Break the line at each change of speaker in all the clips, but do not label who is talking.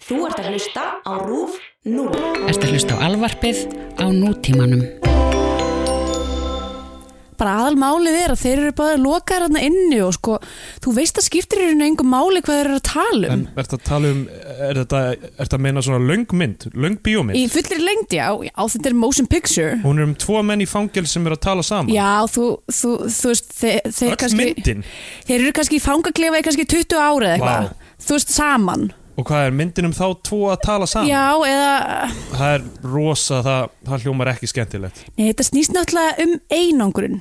Þú ert að hlusta á RÚF 0.
Ertu að hlusta á alvarpið á nútímanum.
bara aðalmálið er að þeir eru bara lokaðir hérna inni og sko þú veist að skiptir eru einhver máli hvað þeir eru að tala um
En ert að tala um, er þetta, er þetta að meina svona löngmynd,
í
löngbíómynd?
fullri lengdi, já, já, þetta er motion picture
Hún er um tvo menn í fangel sem er að tala saman.
já, þú, þú, þú veist þeir, þeir,
Öll
kannski,
myndin.
þeir eru kannski í fangaklefa í kannski 20 ára eða eitthvað
Vá.
þú veist saman,
Og hvað er myndin um þá tvo að tala saman?
já, eða
Það er rosa, það, það hljómar ekki skemmtilegt.
nei, þetta snýst náttúrulega um einangrun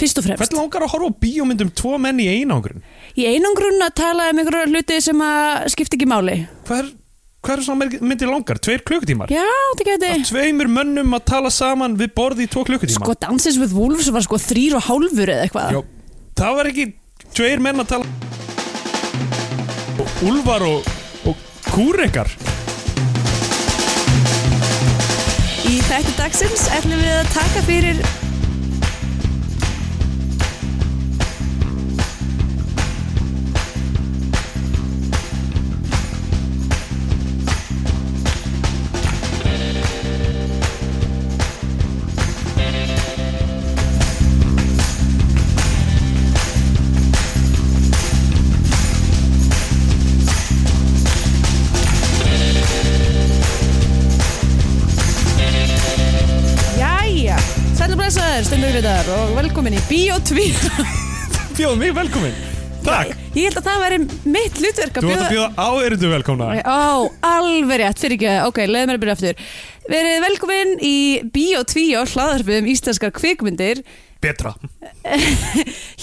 fyrst og fremst,
Hvernig langar að horfa á bíómynd um tvo menn í einangrun?
í einangrun að tala um einhverja hluti sem að skipti ekki máli
Hvað er, hvað er svona merk- myndir langar? Tveir klukkutímar?
já, þetta geti
Af tveimur mönnum að tala saman við borði í tvo klukkutíma?
sko Dances with Wolves var sko þrýr og hálfur eða eitthvað
Já, það var ekki tveir menn að tala og Úlfar og, og kúrekar
Í þætti dagsins ætlum við að taka fyrir Jæja, sælum blessaður, stendur hlutar og velkomin í Bíó 2
Bjóð mig velkomin Takk,
Ég held að það væri mitt hlutverk
þú ert að bjóða áerindu velkomna
Ó, alveg rétt, fyrir ekki, ok, leiðum mér að byrja aftur Verið velkomin í Bíó 2 og hlaðarfið um íslenskar kvikmyndir
Betra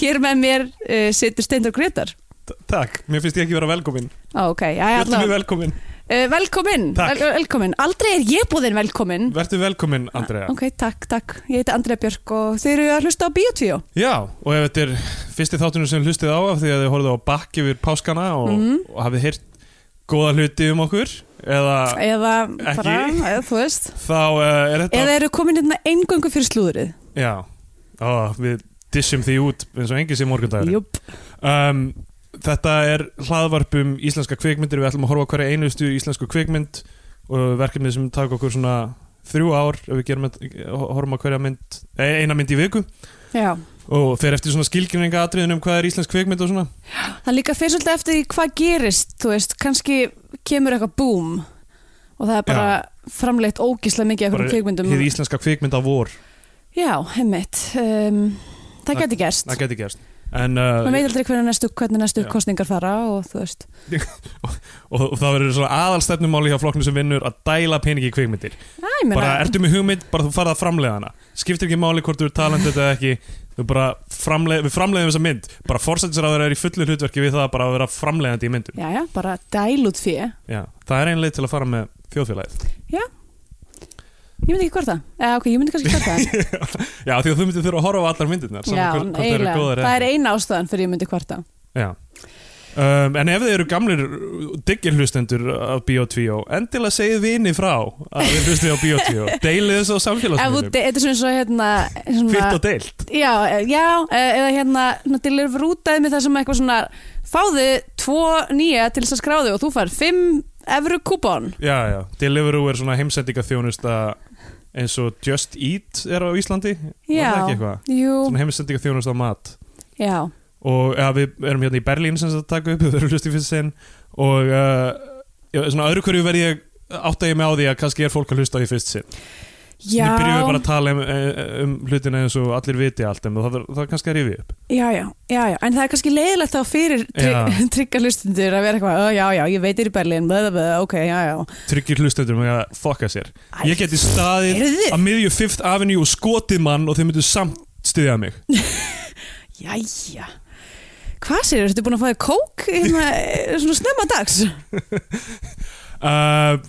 Hér með mér uh, situr Steindor Gretar
T- Takk, mér finnst ég ekki vera velkomin
Ó, Ok, jæja,
Vertu mig
allavega
velkomin
Eh, Velkomin,
Takk.
vel, velkomin Aldrei er ég búðin velkomin
Vertu velkomin, Andrea
Ok, takk, takk, ég heiti Andrea Björk og þið eru að hlusta á Bíó 2
Já, og ef þetta er fyrsti þáttunum sem hlustið á af því að þið horfðu á bakk yfir páskana og, og hafið heyrt góða hluti um okkur eða
Eða bara,
Ekki.
eða, þú veist
þá uh, er þetta
Eða eru komin hérna engöngu fyrir slúðrið?
Já, Ó, við dissum því út eins og engi sem morgundagur
Júp.
um, Þetta er hlaðvarp um íslenska kvikmyndir Við ætlum að horfa á hverja einustu íslensku kvikmynd og verkefnið sem taka okkur svona þrjú ár ef við gerum að, horfum á hverja mynd eh, eina mynd í viku
Já.
og fer eftir svona skilgjöfninga atriðin um hvað er íslensk kvikmynd og svona
Það líka fyrir svolítið eftir því hvað gerist, þú veist, kannski kemur eitthvað boom og það er bara framleitt ógíslega mikið eitthvað kvikmyndum.
hið íslenska kvikmynd á vor
Já, heimitt. Um, það geti gerst.
það geti gerst en,
Man
uh,
veit aldrei hvernig næstu, hvernig næstu
Já.
kostningar fara og þú veist.
og, og það verður svona aðalstefnumáli hjá flokknum sem vinnur að dæla peningi í kvikmyndir
Æ, ég meina,
bara ertu með hugmynd, bara þú farað að framleiða hana skiptir ekki máli hvort þú er talendið eða ekki þú bara framleið, við framleiðum þessa mynd bara fórsættisar að það er í fullu hlutverki við það bara að vera framleiðandi í myndum
já, já, bara dæl út fyrir.
Já, það er einlega til að fara með þjóðfélagið
Ég myndi ekki hvort það. Eh, ok, ég myndi kannski hvort það.
Já, því að þú myndir þurfa að horfa á allar myndirnar
já,
saman hvort- hvort þær eru
eiginlega.
góðar eða
Það er
ekki.
eina ástæðan fyrir ég myndi hvort það.
Já. Um, en ef þið eru gamlir diggir hlustendur af Bíotvíó endilega segið vini frá að þið hlustið á Bíotvíó deilið þessu á
Ef þú,
samfélagsmiðlum
þetta er svona eins og hérna... svona-
fyrst og deilt
Já, e- já, e- eða hérna svona deliver rútaði með það sem eitthvað svona fáðu tvo nýja til þess að skráðu og þú fær fimm evru kúbón
Já, já, Deliveroo er svona heimsendinga þjónusta eins og Just Eat er á Íslandi
Já,
Var það ekki eitthvað?
jú,
Svona heimsendinga þjónusta á mat
já,
og ja, við erum hérna í Berlín sem þetta taka upp við erum hlust í fyrst sinn og uh, já, svona öðru hverju verð ég átta ég mig á því að kannski er fólk að hlusta á því fyrst sinn
já,
Nú byrjum við bara að tala um, eh, um hlutina eins og allir viti allt um það, það, það kannski er yfir upp
já, já, já, já, en það er kannski leiðilegt þá fyrir
Já.
trygg, trygga hlustundur að vera eitthvað, "Ö, já, já, ég veit þér í Berlín, bæða, bæða, ok, já, já,
tryggir hlustendur með að fokka sér Ég geti staðið
heyrðu.
að miðju Fifth Avenue og skotið mann og þeir myndu samt styðja mig
jæja, hvað sér, ertu búin að fá þér kók, hérna, eh, svona snemma dags?
uh,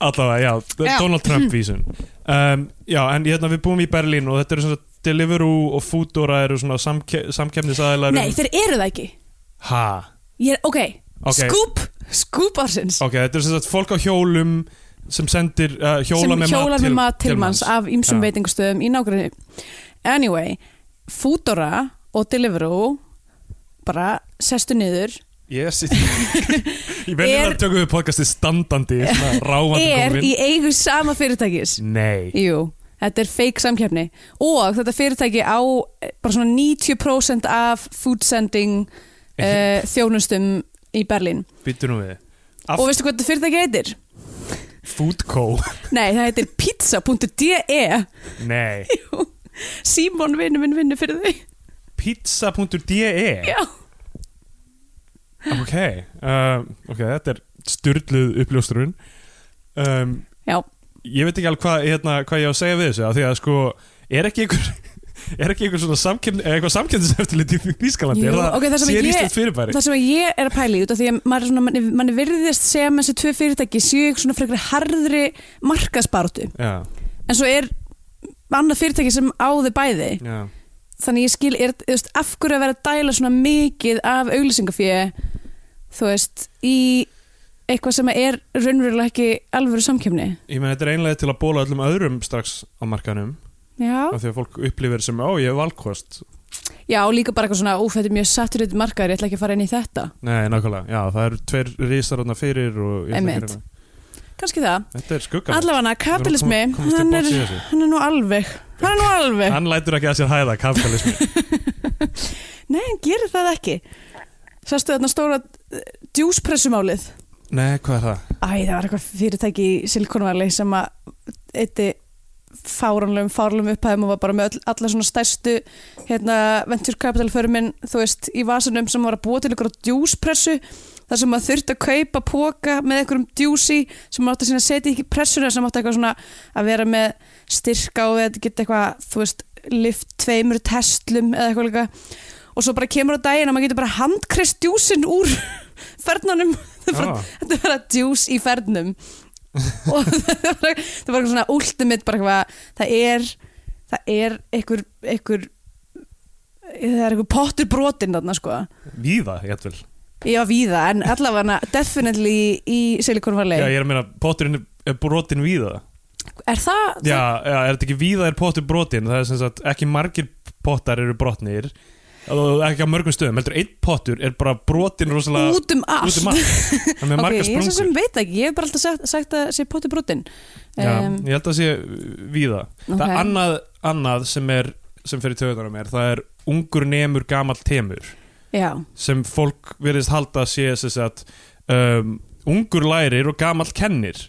allavega, já,
Já.
Donald Trump vísun um, já, en hérna við búum í Berlín og þetta eru svona Deliveroo og Foodora eru svona samke samkefnisaðilar
Nei, þeir eru það ekki,
ha,
ég er, ok,
Ok.
skúp, skúp ársins.
ok, þetta eru svona fólk á hjólum sem sendir uh, hjóla,
sem
með,
hjólar
mat
með mat til manns af ýmsum
Já.
veitingustöðum í nágrinni anyway, Foodora og Deliveroo bara sestu niður
yes, Ég verði
Er-
að tökum við podcastið standandi svona ráfandi
er
komin
í eigu sama fyrirtækis
Nei,
Jú, þetta er fake samkeppni og þetta fyrirtæki á eh, bara svona 90% af food sending uh, þjónustum í Berlín
býttu nú við Af-
og veistu hvað þetta fyrirtæki heitir?
Food Co
Nei, það heitir pizza.de
Nei,
Simon vinnu e. minn vinnur fyrir þau
pizza.de
Já,
Ok, um, ok, þetta er styrluð uppljóstrun um,
já,
Ég veit ekki alveg hvað hérna, hva ég á að segja við þessu af Því að sko, er ekki einhver Er ekki einhver svona samkemni eða eitthvað samkemniseftillit í Þýskalandi?
Jú,
Er það
ok, það sem
sér
ég-
íslenskt fyrirbæri?
það sem að ég er að pæla í út af því að maður, er svona, manni, manni virðist segja með þessi tvö fyrirtæki séu ykkur svona frekar harðri markaðsbáratu
Já,
en svo er annað fyrirtæki sem á þau bæði
já
þannig ég skil, er, þú veist, af hverju að vera að dæla svona mikið af auglýsingafjö þú veist, í eitthvað sem er raunverulega ekki alvöru samkjöfni
Ég meina, þetta er einlega til að bóla öllum öðrum strax á markanum
Já.
af því að fólk upplifir sem, ó, ég hef valkost
Já, og líka bara eitthvað svona, úf, þetta er mjög saturitt markaður, ég ætla ekki að fara inn í þetta
Nei, nákvæmlega, já, það eru tveir rísar þarna fyrir og ég ætla
Einmitt.
ekki að gera það.
Kannski það,
Þetta er skugga
allavega kapitalismi
Við erum kom- komast til
hann,
botns
er-
í þessu.
hann er nú alveg hann er nú alveg,
Hann lætur ekki að sér hæða kapitalismi
nei, hann gerir það ekki Sastu þarna stóra eh, djúspressumálið
Nei, hvað er það?
Æ, það var eitthvað fyrirtæki í Silkonvali sem að eitti fáránlegum, fáránlegum upphæðum og var bara með öll, alla svona stærstu hérna, venture capital förmin þú veist, í vasanum sem var að búa til ykkur djúspressu, þar sem maður þurfti að kaupa póka með einhverjum djúsi sem maður átti síðan að setja ekki í pressuna sem átti eitthvað svona að vera með styrka og þetta geta eitthvað, þú veist lift tveimur testlum eða eitthvað líka og svo bara kemur á daginn að maður getur bara handkrist djúsin úr fernanum það er bara
Já.
þetta var að djús í fernum og það var, það var eitthvað svona ultimate bara eitthvað, það er það er einhver, einhver það er einhver pottur brotinn þarna sko,
Víða, ég ætl
ég var víða en allavega definitely í Silicon
Já,
Valley
ég er að meina, potturinn er- er brotin víða
er það,
Já, já, er þetta ekki víða er pottur brotin Það er sem sagt, ekki margir pottar eru brotnir og ekki á mörgum stöðum heldur, einn pottur er bara brotin rosalega
út um allt,
út um allt Þannig að
ok,
margar
ég er svo
sprungur
sem veit ekki, ég hef bara alltaf sagt, sagt að sé pottur brotinn
Já,
um,
ég held að sé uh, víða Það
Ok.
er annað, annað sem er sem fyrir töðunum er, það er ungur nemur gamall temur
já,
sem fólk verðist halda að sé þess að um, ungur lærir og gamall kennir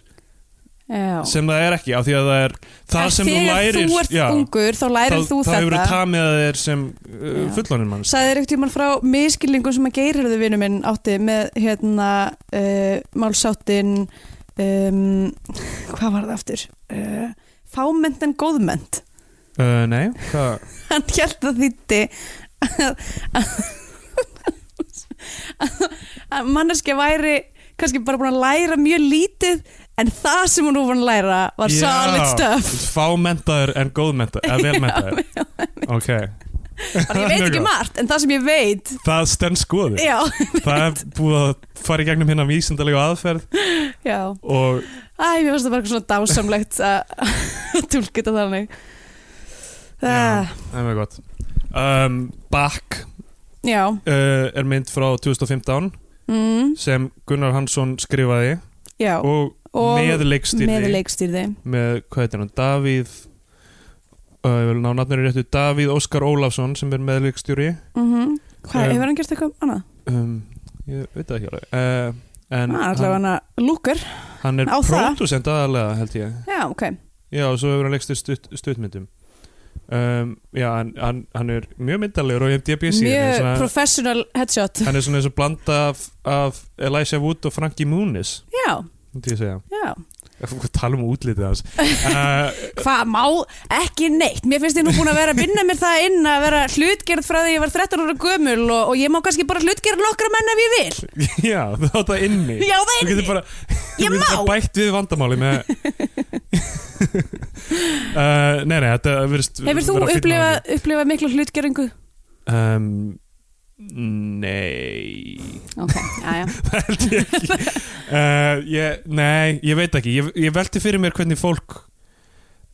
já
sem það er ekki af því að það er það
En
sem þú
þegar
lærir
þú ert ungur, þá
þá,
lærir þú
þá hefur
þetta
það tamið að þeir sem uh,
Já.
fullonir mann
Sæði þér eitthvað frá miskilningum sem að geirhörðu vinnu minn átti með hérna uh, málsáttin um, hvað var það aftur? Uh, fámend en góðmend
uh, Nei, hvað
hann held að þýtti að, að, að manneskja væri kannski bara búin að læra mjög lítið en það sem hún nú búin að læra var
Já.
solid stuff
Fámentaður en góðmentaður eða velmentaður Ok,
bara ég veit
Mjög
ekki
gott.
margt en það sem ég veit
það stend skoði
já,
Það er búið að fara í gegnum hérna vísindalegu aðferð
já
og
Æ, mér finnst það bara eitthvað svona dásamlegt að að tólka þetta þannig. Eh,
Já,
Það,
það er mjög gott um, Back
já.
uh, er mynd frá 2015
Mm,
sem Gunnar Hansson skrifaði
já.
og,
og
með leikstýri
Með
með,
leikstýrði.
hvað heitir hann, Davíð uh, ég vil ná nafnir réttu Davíð Óskar Ólafsson sem er með leikstýri
Mm Hvað,
Um,
hefur hann gert eitthvað annað?
um, ég veit það ekki alveg uh, en
Hann er Ah, allavega
hann,
hann að lúkur.
hann er
á það.
pródusent aðalega held ég
Já, ok.
já og svo hefur hann leikstýr stutt, stuttmyndum um, já hann, hann, hann er mjög myndalegur og ég hef DBC
Mjög professional headshot.
hann er svona eins og blanda af, af Elijah Wood og Frankie Muniz
Já,
myndi ég segja
já.
Hvað tala um útlitið hans uh,
Hvað, má ekki neitt. Mér finnst ég nú búin að vera að vinna mér það inn að vera hlutgerð frá því ég var 13 ára gömul og, og ég má kannski bara hlutgerð nokkra menn ef ég vil.
Já, þú átt það inni
Já, það
Þú
er
getur bara, þú
Ég
getur bara
má.
bætt við vandamáli með uh, Nei, nei, þetta verðist
Hefur þú upplifað upplifað mikla hlutgerðingu?
um, Nei
Ok, já, já.
Það held ég ekki uh, ég, Nei, ég veit ekki Ég, ég velti fyrir mér hvernig fólk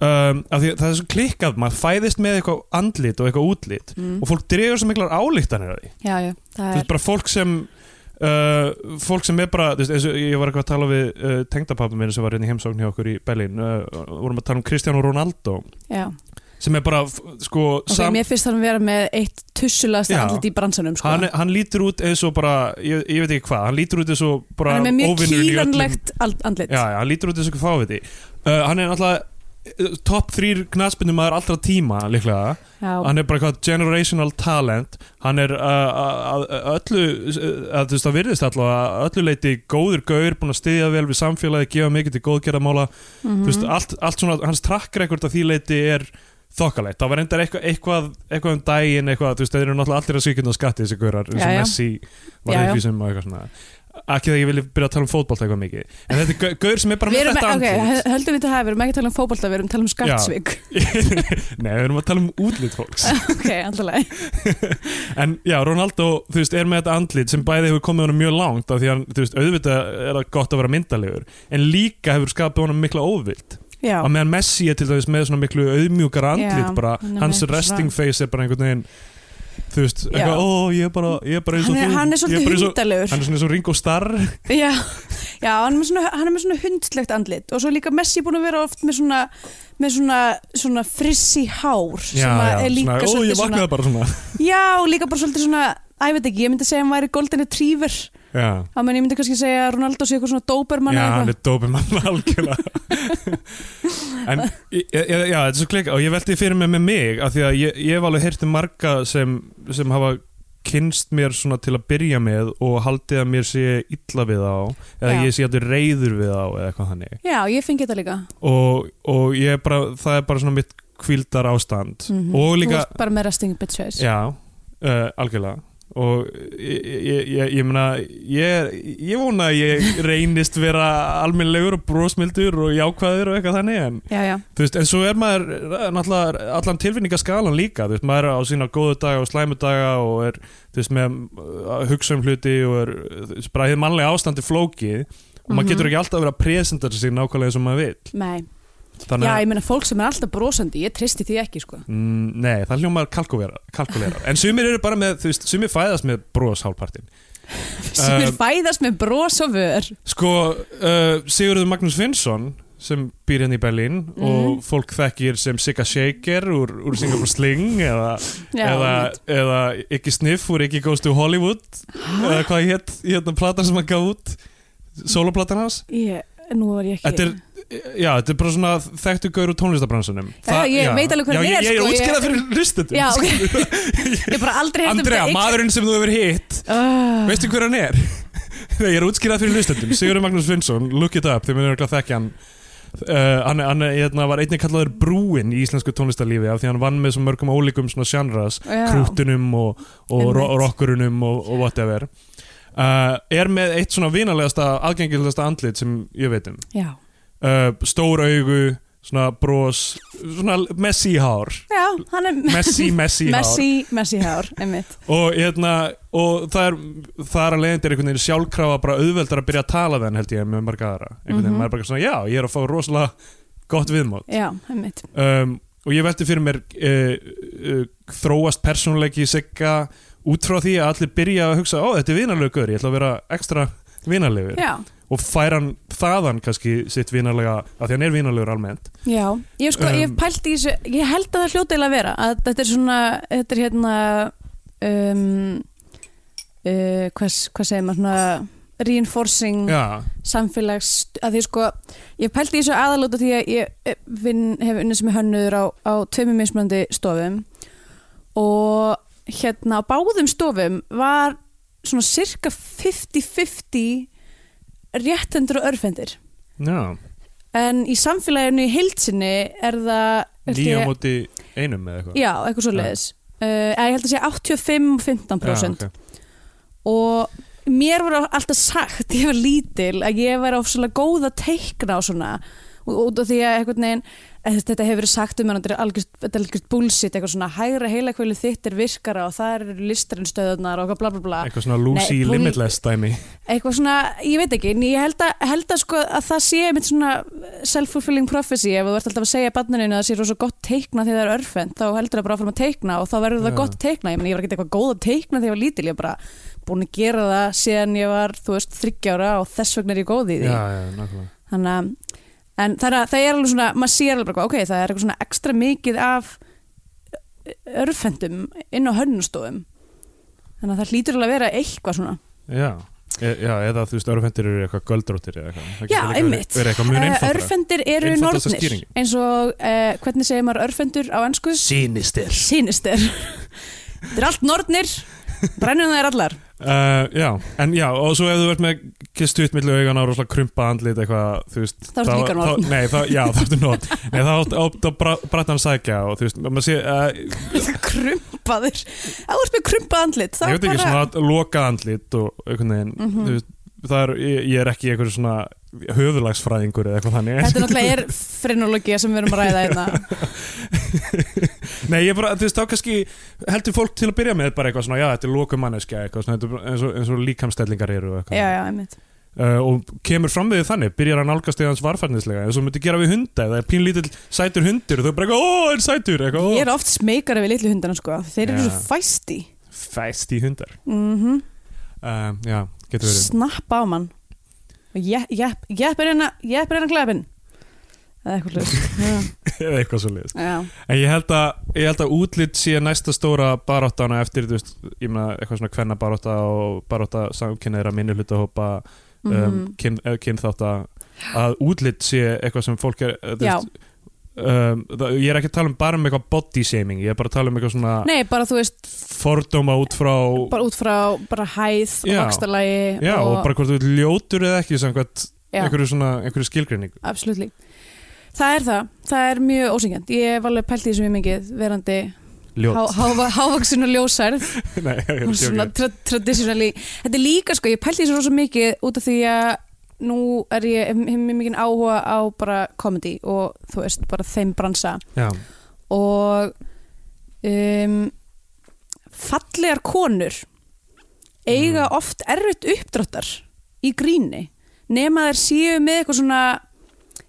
um, af því, að Það er svo klikkað maður fæðist með eitthvað andlit og eitthvað útlit
Mm.
og fólk dregur svo miklar álíktanir að því
Já, já, það
Það
er
er bara fólk sem uh, fólk sem er bara þú veist, eins og ég var eitthvað að tala við uh, tengdapappa minn sem var hérna í heimsókn hjá okkur í Berlín uh, vorum að tala um Cristiano Ronaldo
Já.
sem er bara f- sko
Ok, mér finnst hann að vera með eitt tussulast
Já.
andlit í bransanum sko.
hann, hann lítur út eins og bara ég, ég veit ekki hvað, hann lítur út eins og bara
hann er með mjög
óvinurinn í öllum-
kýlanlegt al- andlit
já, já, hann lítur út eins og hvað fáviti uh, hann er náttúrulega uh, topp þrýr knaspinum aður allra tíma líklega
Já.
hann er bara eitthvað generational talent hann er uh, að að öllu uh, að þú veist það virðist alltaf að öllu leiti góður gaur, búin að styðja vel við samfélagi, gefa mikið til góðgerðamála
Mhm.
þú veist, allt, allt svona, hans track record að því leiti er þokkalegt, það var endar eitthvað, eitthvað, eitthvað um daginn, eitthvað, þú veist, þeir eru náttúrulega allir að svíkjönda skatti þessi gaurar,
Já,
eins og
já.
Messi
Já,
var
já.
uppvísum og eitthvað svona ekki það ég vilja byrja að tala um fótbolta eitthvað mikið en þetta er gau- gaur sem er bara
Við
með
erum,
þetta
ok,
andlit
hö- höldum við þetta að við erum ekki að tala um fótbolta, við erum að tala um skattsvík
Nei, við erum að tala um útlit fólks
Ok, andalega
En já, Ronaldo, þú veist, er með þetta andlit sem bæði hefur komið honum mjög langt af því að, þú veist, auðvitað er það gott að vera myndalegur en líka hefur skapað honum mikla óvild
Já,
að meðan Messi er til dæmis með svona miklu auðmjúkara andlit
Já,
bara,
hann er með
hans
eitthvað
resting face er bara einhvern veginn þú veist, eitthvað, ó, ég er bara, ég er bara eins
hann
og
er,
þú
hann er
Ég
svolítið
bara eins og-
hundalegur
Hann er svona eins og Ringo Starr
Já, já hann, er með svona, hann er með svona hundslegt andlit og svo er líka Messi búin að vera oft með svona, með svona, svona frissi hár sem að er líka
svona, ó, ég
svolítið
vaknaði bara svona
svona Já, líka bara svolítið svona, æ, ég veit ekki, ég myndi segja að hann væri golden retriever
Já,
þá menn ég myndi kannski segja að Ronaldo sé eitthvað svona dobermann
já
eða eitthvað.
hann er dópið mann algjörlega En, ég, ég, já, þetta er svo klika og ég velti fyrir mig með mig af því að ég, ég hef alveg heyrti marga sem, sem hafa kynst mér svona til að byrja með og haldið að mér sé illa við þá eða
Já.
ég sé að þú reyður við þá eða eitthvað þannig
Já, ég fengi þetta líka
og, og ég er bara, það er bara svona mitt kvildar ástand
Mhm.
og
Þú
líka,
ert bara með resting bitch face
já uh, algjörlega og ég, ég, ég, ég meina ég, ég vona að ég reynist vera almennlegur og brosmildur og jákvæður og eitthvað þannig en,
já, já.
þú veist, en svo er maður eh, náttúrulega allan tilfinningaskalan líka þú veist, maður er á sína góðu daga og slæmu daga og er, þú veist, með eh, að hugsa um hluti og er, þú veist, bara hið mannlega ástandi flókið og maður
Mhm.
getur ekki alltaf verið að presentara sig nákvæmlega eins og maður vill
Nei,
Þannig
já,
að-
ég meina fólk sem er alltaf brosandi, ég tristi því ekki sko.
Mm, nei, það hljómar kalkulera, kalkulera. En sumir eru bara með, þú veist, sumir fæðast með broshálpartin
sem er
Um,
fæðast með bros og vör
Sko, uh, Sigurður Magnús Finnsson sem býr hérna í Berlín
Mhm.
og fólk þekkir sem Sigga Shaker úr, úr Singapore Sling eða,
Já,
eða,
einmitt.
eða ekki Sniff úr ekki Goes to Hollywood eða hvað hétt, hérna platan sem hann gaf út soloplatan hans
ég, Nú var ég ekki
Þetta er, já, þetta er bara svona þekktu gaur úr tónlistabransunum
Já, ég veit alveg hver hann
Já,
er, sko,
ég, ég er
ég-
útskýrað fyrir lustendum
Já, ok Ég hef bara aldrei um hefði
Andrea, maðurinn sem þú hefur hitt
uh,
Veistu hver hann er? Nei, ég er útskýrað fyrir hlustendum Sigurður Magnús Finnsson, look it up, þið munir örugglega þekkja hann Uh, hann, hann hérna, var einnig kallaður brúin í íslensku tónlistarlífi af því hann vann með svo mörgum ólíkum svona genres,
Já.
krúttunum og, og
Einmitt.
ro rockurunum og, og whatever uh, er með eitt svona vinalegasta aðgengilegasta andlit sem ég veit um
Já,
uh, stór augu, svona bros svona messi hár
já, hann er
messi messi hár
Messi, Messi hár, einmitt
og, hérna, og það er það er að leiðindir einhvern veginn sjálfkrafa bara auðveldar að byrja að tala við hann held ég með marga aðra einhvern veginn,
Mhm.
maður er bara svona, já, ég er að fá rosalega gott viðmót
Já, einmitt
um, og ég velti fyrir mér uh, uh, þróast persónleiki sigga út frá því að allir byrja að hugsa, ó, þetta er vinarlegur ég ætla að vera ekstra vinarlegur
Já,
og færa hann þaðan kannski sitt vinarlega, af því hann er vinarlegur almennt
já, ég hef sko, ég hef
Um,
pælt í þessu Ég held að það hljóti eiginlega að vera að þetta er svona, þetta er hérna um, uh, hvers, hvað segir maður svona reinforcing
já,
samfélags að því sko, ég pælti í þessu aðalóta því að ég eh, vinn, hef unnið sem hönnuður á, á tveimur mismunandi stofum og hérna á báðum stofum var svona cirka 50-50 réttendur og örfendir
já
en í samfélaginu í heilsinni er það held
nýja
ég-
móti einum eða eitthvað
já, eitthvað svo leiðis uh, eða ég held að sé 85-15%
ok.
og mér var alltaf sagt ég var lítil að ég var á svolítið góð að teikna og svona ú- út af því að einhvern veginn eh, þetta hefur verið sagt um hann, þetta er algjörst, þetta er algjörst bullshit eitthvað svona hægra heila þitt er virkara og það eru listarinn stöðunar og eitthvað bla bla bla
eitthvað svona Lucy
Nei, hún-
Limitless dæmi
eitthvað svona, ég veit ekki en ég held að, held að, sko, að það sé einmitt svona self-fulfilling prophecy ef þú ert alltaf að segja barnaninu að það sé rosa gott teikna þegar það er örfend, þá heldur það bara áfram að teikna og þá verður það
Já.
gott teikna, ég meni ég var ekki eitthvað góð að teikna þegar ég var lítil, ég bara búin að gera það síðan ég var, þú veist, þryggjára og þess vegna er ég góð í því
já, já, nákvæmlega
þannig að en það er, að- það er alveg svona, maður sér alveg bara, ok, það er eitthvað svona ekstra mikið af örfendum inn á hönnustofum þannig að það hlýtur alveg að vera eitthvað svona
Já, e já eða þú veist, örfendir eru eitthvað göldróttir eða eitthvað Það
Já,
getur líka verið-
einmitt.
verið eitthvað mjög
Eh,
einfaldra
Örfendir eru
Einfaldasta
nornir
skýringin.
eins og, uh, hvernig segir maður örfendur á ennsku?
Sýnistir
Sinister Þetta er allt nornir, brennum þær allar
uh, Já, en já, og svo ef þú verður með kistuðt millu augana og rosalega krumpa andlit eitthvað, þú veist
Þá ertu líka norn.
þá- Nei, þá, já, þá ertu norn Nei, þá átt- átt að bra- brattan sækja og þú veist, maður sé uh,
Krumpaður, það er með krumpað andlit það
Ég veit ekki,
bara-
svona að loka andlit og einhvern veginn,
Mhm.
þú veist Það er, ég, ég er ekki einhverjum svona höfðulagsfræðingur eða eitthvað þannig
Þetta er náttúrulega er frenología sem við erum að ræða hérna. einna
Nei, ég bara, þú veist, þá kannski heldur fólk til að byrja með bara eitthvað svona, já, þetta er lokum manneskja eitthvað svona, þetta er bara eins og, eins og líkamstellingar eru og
Já,
eitthvað.
já, einmitt
Uh, og kemur fram við þig þannig, byrjar að nálgast eða hans varfarnislega, eins og myndi gera við hunda eða er pínlítill sætur hundur og þau bara eitthvað, ó, er sætur, eitthvað, ó,
Ég er oft smekari við litlu hundana sko Þeir eru
Já.
svo fæsti
fæsti hundar.
mm
Uh, já, getur verið.
Snapp á mann Og jepp, jepp, jepp er hérna Jepp er hérna glæfin Það er eitthvað hlust Já,
Eða eitthvað svo liðist.
já,
En ég held að, ég held að útlitt sé næsta stóra baráttana eftir, þú veist, ég meina eitthvað svona kvenna barátta og barátta samkynneira minnihlutahópa
mm
um, kyn, eh, kynþátt að- að útlitt sé eitthvað sem fólk er eh, þú
já.
veist, um, það, ég er ekki að tala um bara um eitthvað body shaming, ég er bara að tala um eitthvað svona
Nei, bara þú veist
fordóma út frá
Bara út frá bara hæð og
Já.
vakstarlægi
já, og, bara hvort þú ert ljótur eða ekki samkvæmt
Já.
einhverju, svona, einhverju skilgreiningu
Absolutely Það er það, það er mjög ósengjant Ég hef alveg pælt í þessu mjög mikið verandi há,
ljót,
há, hávaksin og ljósærð
nei, ég er
Og
ekki
svona tra traditionally þetta er líka sko, ég pælti þessu rosa mikið út af því að nú er ég hef hef mjög mikið áhuga á bara comedy og þú veist, bara þeim bransa
já,
og um, fallegar konur eiga oft erfitt uppdráttar í gríni nema þær séu með eitthvað svona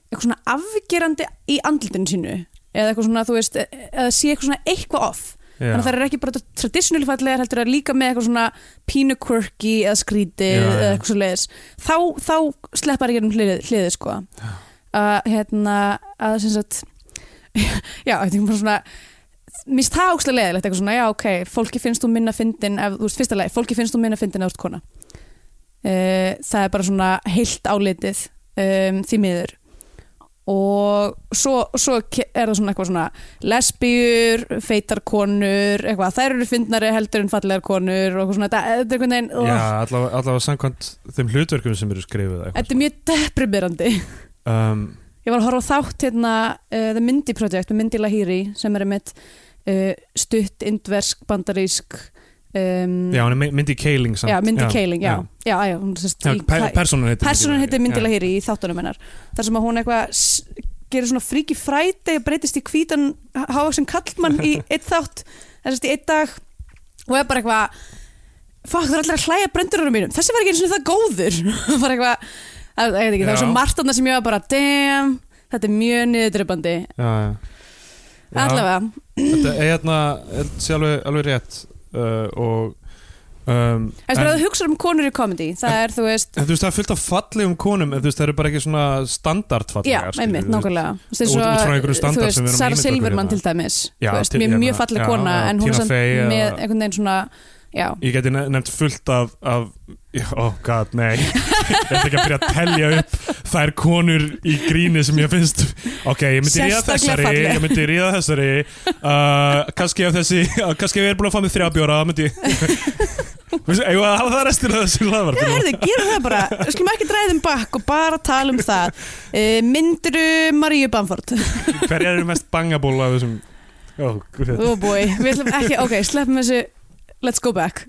eitthvað svona afgerandi í andlutinu sínu eða eitthvað svona, þú veist, e- eða sé eitthvað svona eitthvað off
já.
þannig að það er ekki bara traditional fallegar heldur að líka með eitthvað svona pínu quirky eða skrítið
Já,
eða
já.
eitthvað svo leiðis þá, þá sleppar ég um hliðið hliði, sko að hérna að sem sagt já, þetta er bara svona mér finnst það ákslega leiðilegt eitthvað svona já ok, fólki finnst þú minna fyndin ef, þú veist, fyrsta leið, fólki finnst þú minna fyndin eða þú ert kona uh, það er bara svona heilt álitið um, því miður og svo, svo ke- er það svona eitthvað svona lesbíur, feitar konur eitthvað, þær eru fyndnari heldur en fallegar konur og eitthvað svona, þetta þetta er einhvern veginn
já
oh,
allavega, allavega samkvæmt þeim hlutverkum sem eru skrifuð eða
þetta er mjög deprimerandi
eitthvað. um,
Ég var að horfa á þátt hérna uh, The Mindy Project með Mindy Lahiri sem er einmitt uh, stutt, indversk, bandarísk um,
já, hann er my- myndi keiling samt
já, Mindy Kaling já. Já, já, hún sérst
Já, pe personan heitir
Personan heitir Mindy
Já.
Lahiri í þáttunum hennar þar sem að hún eitthvað s- gerir svona fríki fræti og breytist í hvítan hávaksin kallmann í eitt þátt þessast í eitt dag og er bara eitthvað fuck það er allir að hlæja brendurunum mínum þessi var ekki eins og það góður bara eitthvað það, það, það var
Já.
svo margt annað sem ég var bara damn þetta er mjög niðurdrepandi
já, já. Já.
allavega
þetta er hérna held sé alveg, alveg rétt uh, og um,
En þú að hugsa um konur í komedi það er þú veist,
en þú veist það er fullt af fallegum konum en þú veist það eru bara ekki svona
já,
standardfallegar skilur
einmitt,
við, þú veist.
nákvæmlega Þú veist, eins
Út-
og,
út frá einhverju standard
þú
sem við erum að
Sara
ímynda okkur
Silverman
hérna.
til dæmis
Já,
þú veist,
til-
mjög,
hérna,
mjög falleg
já,
kona
já,
en hún
Tina
er samt
Fey eða-
með einhvern veginn svona já,
ég geti ne- nefnt fullt af, af oh god, nei ég ætla ekki að byrja að telja upp þær konur í gríni sem ég finnst ok, ég myndi ríða
Sérstaklega
þessari
falleg.
ég myndi ríða þessari uh, kannski ef þessi, uh, kannski ef ég er búin að fá mig þrjá bjóra, þá myndi ég Þú veist, eigum við að hafa það restina af þessu
já,
laðvarpinu
herðu, gerum það bara skulum ekki dræðum bakk og bara tala um það uh, myndiru Maríu Bamford
Hver er mest bangaból af þessum oh, guð.
oh boy, við ætlum ekki, ok, sleppum þessu let's go back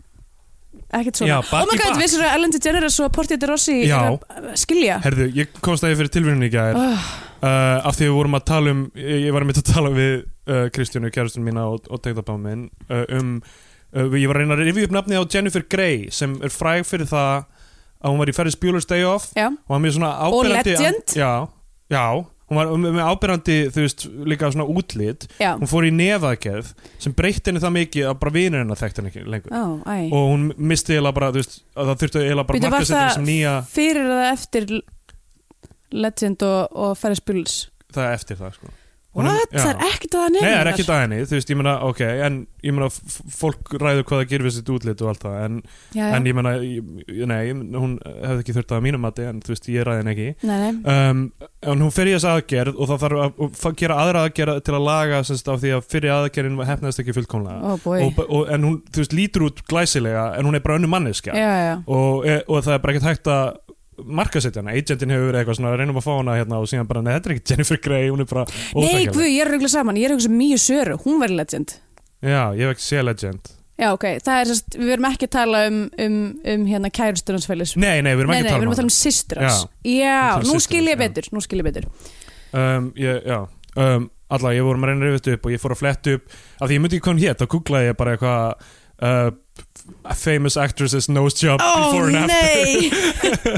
ekkert svona,
Já,
oh
back
my
í
god,
back.
vissir að Ellen DeGeneres og Portia de Rossi
Já.
er að eh, skilja
Herðu, ég komst að ég fyrir tilvíðinu í gær
oh,
uh, af því við vorum að tala um ég ég var að mynda að tala við uh, Kristjánu, kærastun mína og, og tegðabá minn uh, um, uh, ég var að reyna að rifja upp nafnið á Jennifer Grey sem er fræg fyrir það að hún var í Ferris Bueller's Day Off
já,
og hann mér svona
Og
áberandi
Legend.
Já, já hún var með ábyrrandi þú veist líka svona útlit
Já,
hún fór í nefaðgerð sem breytti henni það mikið að bara vinur hennar þekkti henni ekki lengur
ó, æ
og hún misti eiginlega bara þú veist að það þurfti eiginlega bara
Bíddu, var
markasetja
það-
sem nýja
Fyrir eða eftir Legend og, og Ferris Buells
það er eftir það sko Hún er-
What?
já.
Það er ekkert að það
Nei,
nefnir
það er ekkert að henni, þú veist, ég meina, ok, en ég meina, f- fólk ræður hvað það gerir við sitt útlit og allt það, en,
Já, já,
en ég meina, ég- nei, hún hefði ekki þurft að mínum mati, en þú veist, ég ræði henni ekki.
nei, nei
um, en hún fer í þess aðgerð og það þarf að og það gera aðra aðgerð til að laga semst af því að fyrir aðgerðin hefnaðist ekki fullkomlega
Ó, bói
og, og, en hún þú veist, lítur út glæsilega en hún er bara önnu
Já,
manneskja
já,
og, e- og það er bara ekkert hægt að markasetja hana, agentin hefur verið eitthvað svona reynum að fá hana hérna og síðan bara, neða, þetta er ekki Jennifer Grey hún er bara
Nei,
óþekkjanleg.
guð, ég er að rugla saman Ég er eitthvað sem mýju söru, hún verður Legend
Já, ég hef ekki séð Legend
Já, ok, það er sérst, við erum ekki að tala um, um, um hérna kærustunarnsfælis
Nei, nei, við erum
Nei,
ekki
nei, við erum að tala
um
um systrans Já,
Við erum að tala um
nú
systur
skil ég
hans, já.
betur, nú skil ég betur
hana. um, ég, Já, um, allavega, ég vorum að reyna að rifja þetta upp og ég fór að fletta upp af því ég myndi ekki hvað hún hétt, þá googlaði ég bara eitthvað uh, famous actresses nose job before and after
nei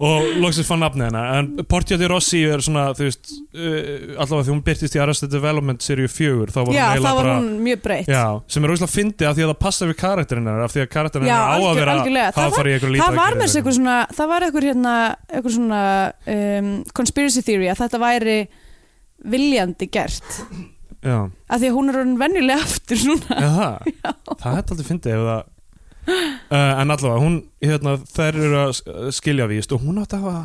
og loksins fann nafnið hennar en Portia de Rossi er svona þú veist, uh, allavega því hún byrtist í Arrested Development seríu 4 þá
Já,
var hún
þá
eiginlega
var
bara
hún mjög breytt
já, sem er óslega fyndið af því að það passa við karakterinn hennar af því að karakterinn
Já,
hennar á að
algjör-
vera
algjörlega. Það
hafa farið í einhver lítið
Það var með þessu eitthvað svona, það var eitthvað hérna, eitthvað svona um, conspiracy theory að þetta væri viljandi gert.
já,
Af því að hún er orðin venjulega aftur svona.
já, það, það er alltaf fyndið ef það uh, en allavega, hún hérna, þær eru að uh, skilja víst og hún átti að hafa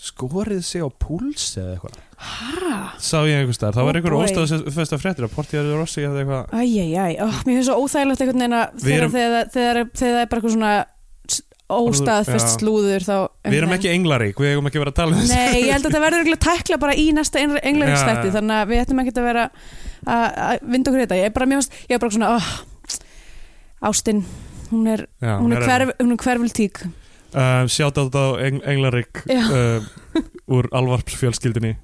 skorið sig á púls eða eitthvað
Hæ?
sá ég einhvers þar, það var
Oh
einhver
boy.
óstæðfesta fréttir að Portia de Rossi hefði eitthvað
Æjæjæj, oh, mér finnst svo óþægilegt einhvern veginn að
Við
þegar,
erum-
þegar, þegar, þegar það er bara eitthvað svona s- óstaðfest
Já.
slúður þá...
Við erum ekki englarík, við eigum ekki að vera að tala um þessu
Nei, ég held að þetta verður eiginlega tækla bara í næsta englaríkstætti
Já.
þannig að við ættum ekki að vera að að vinda okkur í þetta. Ég er bara mjög, ég er bara svona, oh, Ástin, hún er,
Já,
hún er, hverf, hún er hverfultík.
uh, Sjátátt á Eng Englarik
Já.
uh, úr alvarpsfjölskyldinni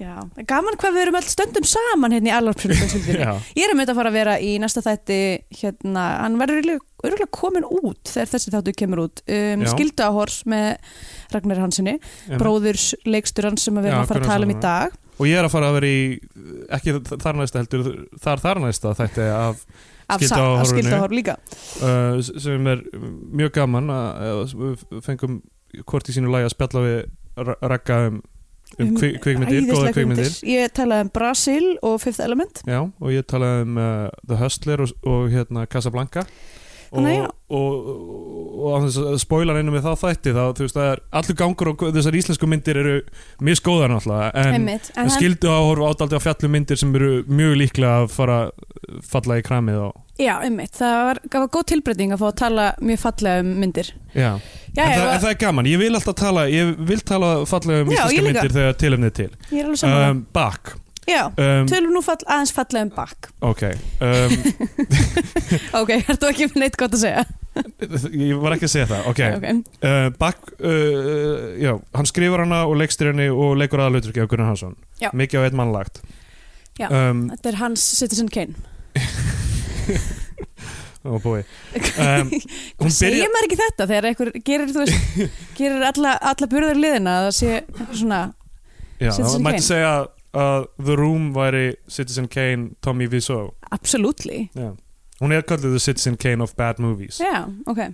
Já, gaman hvað við erum öll stöndum saman hérna í alvarpsfjölskyldinni.
Já,
Ég er um þetta að fara að vera í næsta þætti hérna, hann verður örgulega komin út þegar þessi þáttu kemur út um,
Já.
skildu með Ragnar Hanssoni
en-
bróðurs leikstur hans sem við
Já,
erum að fara að tala um í
Gunnarssonar.
dag
Og ég er að fara að vera í ekki þ- þar næsta heldur, þar þar næsta þætti af,
af,
Skylda
sa-
á
af
horfinu.
skildu líka
uh, s- sem er mjög gaman að að við fengum hvort í sínu lagi að spjalla við Ra- Ragga um, um
Um
kvi- kvikmyndir, góða
Æðislegar
kvikmyndir
ég talaði um Brasil og Fifth Element
Já, og ég talaði um uh, The Hustler og, og hérna Casablanca og,
Þannig, já.
og, og, og án þess að spoilan einu með þá þætti þá, þú veist, það er allur gangur og þessar íslensku myndir eru misgóðar náttúrulega, en,
einmitt,
en
hann-
skildu áhorf ádaldi á fjallu myndir sem eru mjög líklega að fara falla í kramið og,
já, einmitt, það var, það var góð tilbreyting að fá að tala mjög fallega um myndir já,
já, en,
já,
það, en það er gaman, ég vil alltaf tala ég vil tala fallega
Já,
um
ég
íslenska
líka.
myndir þegar tilefnið er til
ég er alveg saman um,
um, Bak
já,
um,
tölum nú fall, aðeins fallega um bakk
ok um,
ok, er þú ekki með neitt gott að segja
ég var ekki að segja það, ok
okay.
uh, Bak, uh, já, hann skrifar hana og leikstir henni og leikur aðalauturki af Gunnar Hansson
Já.
mikið á einn mann lagt
Já.
um,
Þetta er hans Citizen Kane
oh boy. um, hún
Segir
byrja,
maður ekki þetta þegar einhver gerir, þú veist, gerir alla, alla burðar liðina að það sé eitthvað svona
já,
Citizen
það mætti
Kane?
segja að The Room væri Citizen Kane Tommy Wiseau
absolutely
já. hún er kallið The Citizen Kane of Bad Movies
Já, ok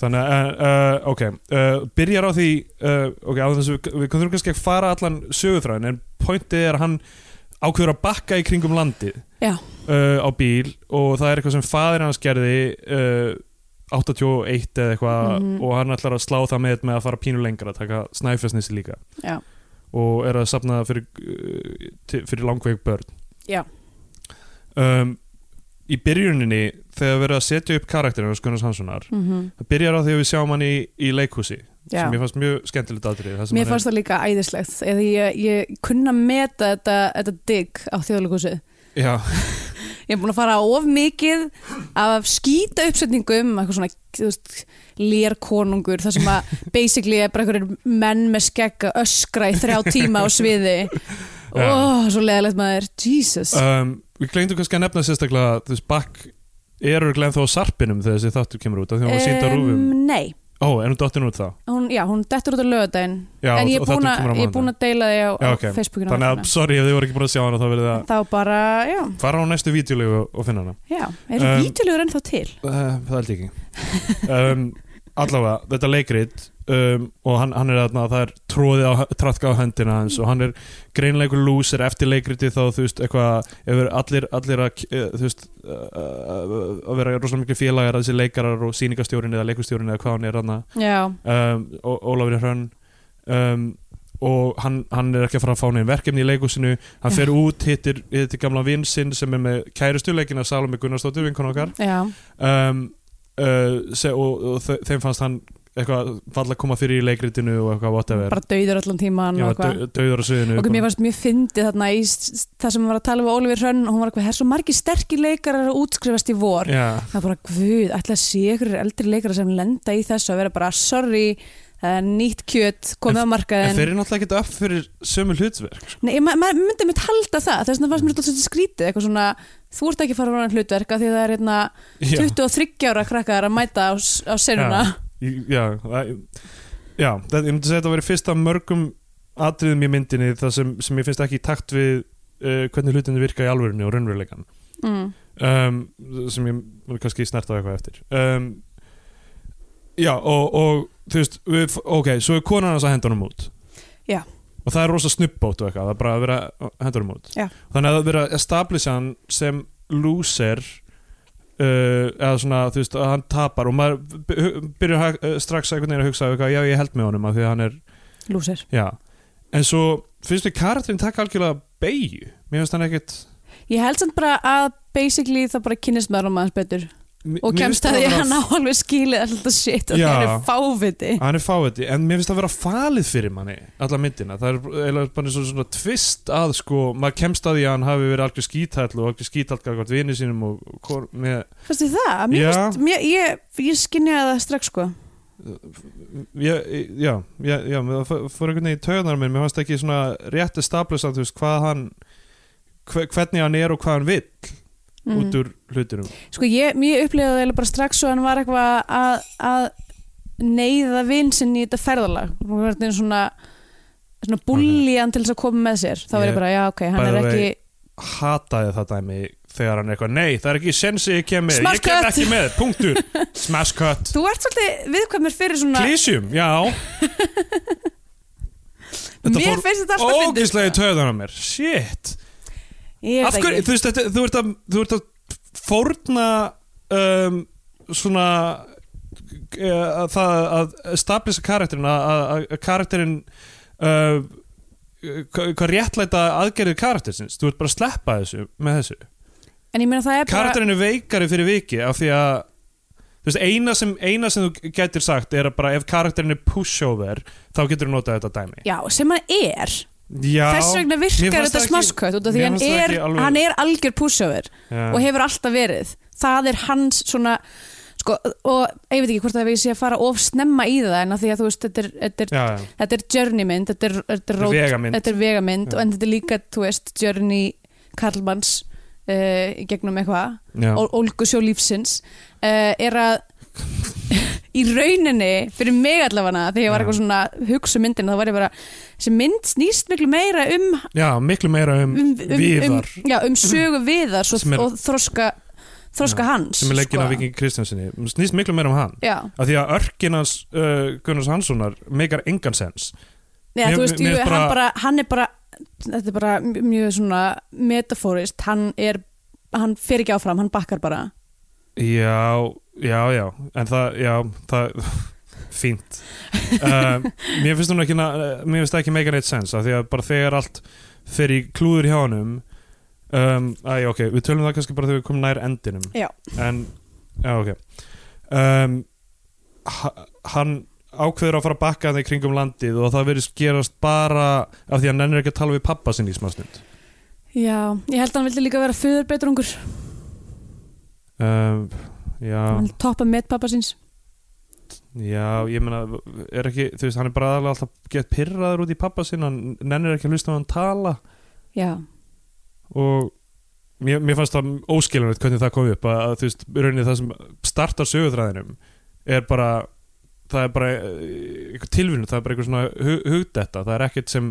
þannig að, uh, ok uh, byrjar á því uh, ok, á þessu, við við þurfum kannski að fara allan sögutræðin, en pointið er að hann ákveður að bakka í kringum landið
Já.
uh, á bíl og það er eitthvað sem faðir hans gerði uh, 81 eða eitthvað
Mhm.
og hann ætlar að slá það með, með að fara pínu lengra að taka snæfessnissi líka
Já.
og er að safna fyrir, uh, til- fyrir langveik börn
Já.
um, í byrjuninni þegar verið að setja upp karakterinu hans Gunnars Hanssonar
mm
það byrjar á því að við sjáum hann í, í leikhúsi
Já.
sem mér fannst mjög skemmtilegt aðrið
Mér fannst það líka æðislegt eða ég, ég kunna meta þetta, þetta digg á þjóðleikhúsið
já,
Ég er búin að fara of mikið af skýta uppsetningum eitthvað svona, þú veist, lérkonungur þar sem að basically er bara einhverjir menn með skegg að öskra í þrjá tíma á sviði Ó,
Já.
svo leðalegt maður, Jesus
um, við glemdum kannski að nefna sérstaklega þú veist, Bakk er örglega ennþá á sarpinum þegar þessi þáttur kemur út af því að hún var sínd á rúfum
Nei,
Ó, er hún dottin út þá?
hún, já, hún dettur út á lögadaginn
Já,
en ég
og
er búin
þetta
að,
kemur á
ég er búin að deila því á,
Já,
á
ok.
Facebookinu
Þannig að, sorry, ef þið voru ekki búin að sjá hana þá verið það
þá bara, já,
fara á næstu vídeolegu og- og finna hana
já er um,
Um,
vítulegur ennþá til
uh, Það held ég ekki um, Allavega, þetta leikrit um, og hann, hann er þarna, það er tróðið á, trafka á höndina hans og hann er greinleikur lúsir eftir leikriti þá þú veist, eitthvað, ef er allir, allir að, eh, þú veist uh, uh, að vera rosalega miklu félagar að þessi leikarar og sýningastjórin eða leikustjórin eða hvað hann er þarna
já,
um, Ó- Ólafur Hrönn um, og hann, hann er ekki að fara að fá neginn verkefni í leikusinu hann fer út, hittir, hittir gamla vinsinn sem er með kærustuleikina Salome Gunnarsdóttur vinkon okkar
já,
um, uh, se, og, og þe- þeim fannst hann eitthvað falla að koma fyrir í leikritinu og eitthvað whatever
bara dauður allan tíman
Ég
og
var
eitthvað
dau- dauður á sviðinu
Ok, mér varst mjög fyndið þarna í s- s- það sem var að tala við Ólífur Hrönn hún var eitthvað, það er svo margir sterkir leikarar að útskrifast í vor
Já,
það er bara, guð, ætla að sé ykkur eldri leikarar sem lenda í þessu að vera bara, sorry það er nýtt kjöt, komið á
en
markaðin
þeir eru náttúrulega ekkert upp fyrir sömu hlutverk sko.
Nei, ma- maður ma myndi mitt halda það þess vegna fannst mér þetta svolítið skrítið, eitthvað svona þú ert ekki að fara frá hann hlutverk af því að það er hérna
Já.
23 ára krakkar að mæta á, s- á senuna
Í- Já, það- já það, ég myndi segja að þetta verið fyrst af mörgum atriðum í myndinni það sem, sem ég finnst ekki í takt við uh, hvernig hlutinu virka í alvörinu og raunveruleikan
mm.
um, sem ég mun kannski snerta á eitthvað eftir um, já og, og þú veist við, ok, svo er konan hans að henda honum út
Já.
og það er rosa snubbót og eitthvað það er bara að vera að henda honum út
Já.
þannig að það er verið að establisha hann sem loser Uh, eða svona, þú veist, að hann tapar og maður by- hu- byrjar ha- uh, strax einhvern veginn að hugsa eitthvað, já, ég held með honum af því að hann er,
lúsir
já en svo finnst mér karakterinn taka algjörlega beigju, mér finnst hann ekkit
ég held samt bara að basically það bara kynnist maður um aðeins betur
mér-
og
mér
kemst
finnst
að því að
vera-
hann á alveg skilið alltaf shit og
Já.
það er fáviti
hann er fáviti, en mér finnst það að vera falið fyrir manni alla myndina, það er eiginlega bara eins og svona tvist að sko, maður kemst að því að hann hafi verið algjör skítall og algjör skítall gafkvæmt vini sínum og hvor, með,
fannst þið það? Mér
Já.
fannst, mér, ég, ég skinjaði það strax sko
ég, já, já, já mér það fór- fór einhvern veginn í taugarnar á mér, mér fannst ekki svona rétt establisað, þú veist, hvað hann hve- hvernig hann er og hvað hann vill
mm.
út úr hlutinum
Sko ég, ég upplýði það eiginlega bara strax og hann var eitthvað að, að neyða vinsinn í þetta ferðalag og hann var þetta svona svona búlíjan til þess að koma með sér þá var
Ég-
ég bara, já ok, hann
by
er
the
ekki
way, hataði það dæmi þegar hann er eitthvað, nei, það er ekki sensi ég kem með,
Smash
ég kem
cut.
ekki með, punktur smash cut,
þú ert svolítið viðkvæmur fyrir svona
klísjum, já Þetta
mér
fór
finnst þetta alltaf fyndið,
ógislega í
sko.
töðan á mér shit
Ég
af
veit
hverju,
ekki.
þú veist, þetta, þú ert að þú ert að fórna um, svona eh, að það að stablisa karakterin að, að, að karakterin uh, hva- hvað réttlæta aðgerðið karaktersins, þú ert bara að sleppa þessu með þessu,
en ég meina það er bara
karakterin er veikari fyrir viki af því að þú veist, eina sem, eina sem þú getur sagt er að bara ef karakterin er pushover þá getur þú notað þetta dæmi
já, sem hann er,
Já,
þess vegna
mér
virkar
fannst
þetta
það ekki-
smaskött út af því
mér
hann
fannst það
er,
ekki alveg-
hann er algjör pushover
Já.
og hefur alltaf verið það er hans svona sko, og ég veit ekki hvort að ég sé að fara of snemma í það en að því að þú veist þetta er, þetta er,
já, já.
þetta er journey mynd þetta er, þetta er, road,
vegamynd.
þetta er vegamynd
Já.
og en þetta er líka, þú veist, journey Karlmanns uh, í gegnum eitthvað,
Já.
ólgu sjó lífsins uh, er að í rauninni fyrir mig allafana þegar ég var
Já.
eitthvað svona að hugsa um myndina þá var ég bara, þessi mynd snýst miklu meira um
já, miklu meira um,
um, um,
viðar
um, já, um sögu viðar svo,
Sem er-
og þroska, þroska
Já,
hans
sem er leikinn
sko.
af Viking Kristjansinni snýst miklu meira um hann
já,
af því að örkin hans uh, Gunnars Hanssonar meikar engan sens
Nei,
Mér-
þú veist, jú,
mér- mér
hann,
bara-
bara, hann er bara þetta er bara mjög svona metaforist, hann er hann fer ekki áfram, hann bakkar bara
já, já, já en það, já, það fínt uh, mér finnst hún ekki na- eh, mér finnst það ekki meikar neitt sens af því að bara þegar allt fer í klúður hjá honum um, að, ok, við tölum það kannski bara þegar við komum nær endinum
Já.
en, já, ok um, ha- hann ákveður að fara að bakka það í kringum landið og það verið gerast bara af því að hann nennir ekki að tala við pappa sinni í smá stund
já, ég held að hann vildi líka vera föður betur ungur,
um, já,
hann toppa met pappa síns
já, ég meina er ekki, þú veist, hann er bara aðalega alltaf gett pyrraður út í pappa sinn, hann nennir ekki að hlusta á hann tala
já,
og mér, mér fannst það óskiljanlegt hvernig það kom upp að, að þú veist, rauninni það sem startar sögutræðinum er bara það er bara eh, eitthvað tilvinnu, það er bara eitthvað svona hug, hugdetta, það er ekkert sem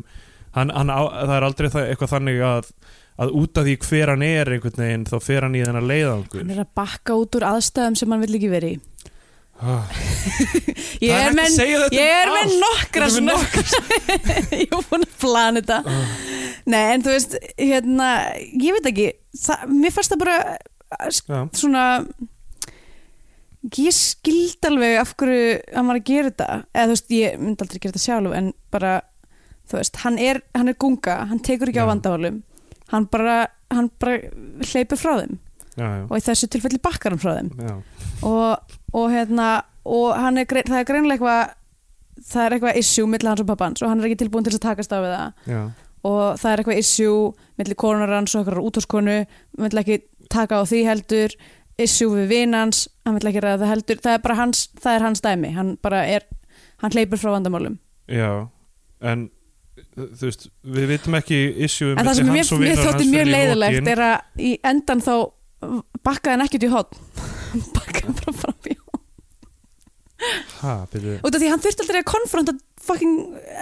hann, hann á, það er aldrei það, eitthvað þannig að að út af því hver hann er einhvern veginn þá fer hann í þennan leiðangur
hann er að bakka út úr aðstæðum sem hann vill ekki verið í
Ah,
ég
Það er
er
hægt að
með,
segja þetta
ég er
um
með
allt.
nokkra
Þetta er
svona
með Ah.
ég er búin að plana þetta nei en þú veist hérna, ég veit ekki það, mér fannst það bara eh, sk-
já.
svona ég skild alveg af hverju hann var að gera þetta eða þú veist, ég myndi aldrei gera þetta sjálf en bara, þú veist, hann er, hann er gunga, hann tekur ekki
Já.
á vandahálum hann bara, hann bara hleypur frá þeim
Já, já,
og í þessu tilfelli bakkar hann frá þeim
já.
og, og hérna og hann er, grein- það er greinlega eitthvað það er eitthvað issue milli hans og pappans og hann er ekki tilbúin til þess að takast á við það
já.
og það er eitthvað issue millir konunar hans og eitthvað útvarskonu hann vill ekki taka á því heldur issue við vinans, hann vill ekki ræða það heldur það er bara hans, það er hans dæmi hann bara er, hann hleypur frá vandamálum
Já, en þú veist, við vitum ekki issue um
en það sem mér, mér þótti mjög leiðilegt er að í endan þá bakkaði hann ekkert í hotn bakkaði hann bara fram í horn.
ha, byrju,
út af því hann þurfti aldrei að konfronta fucking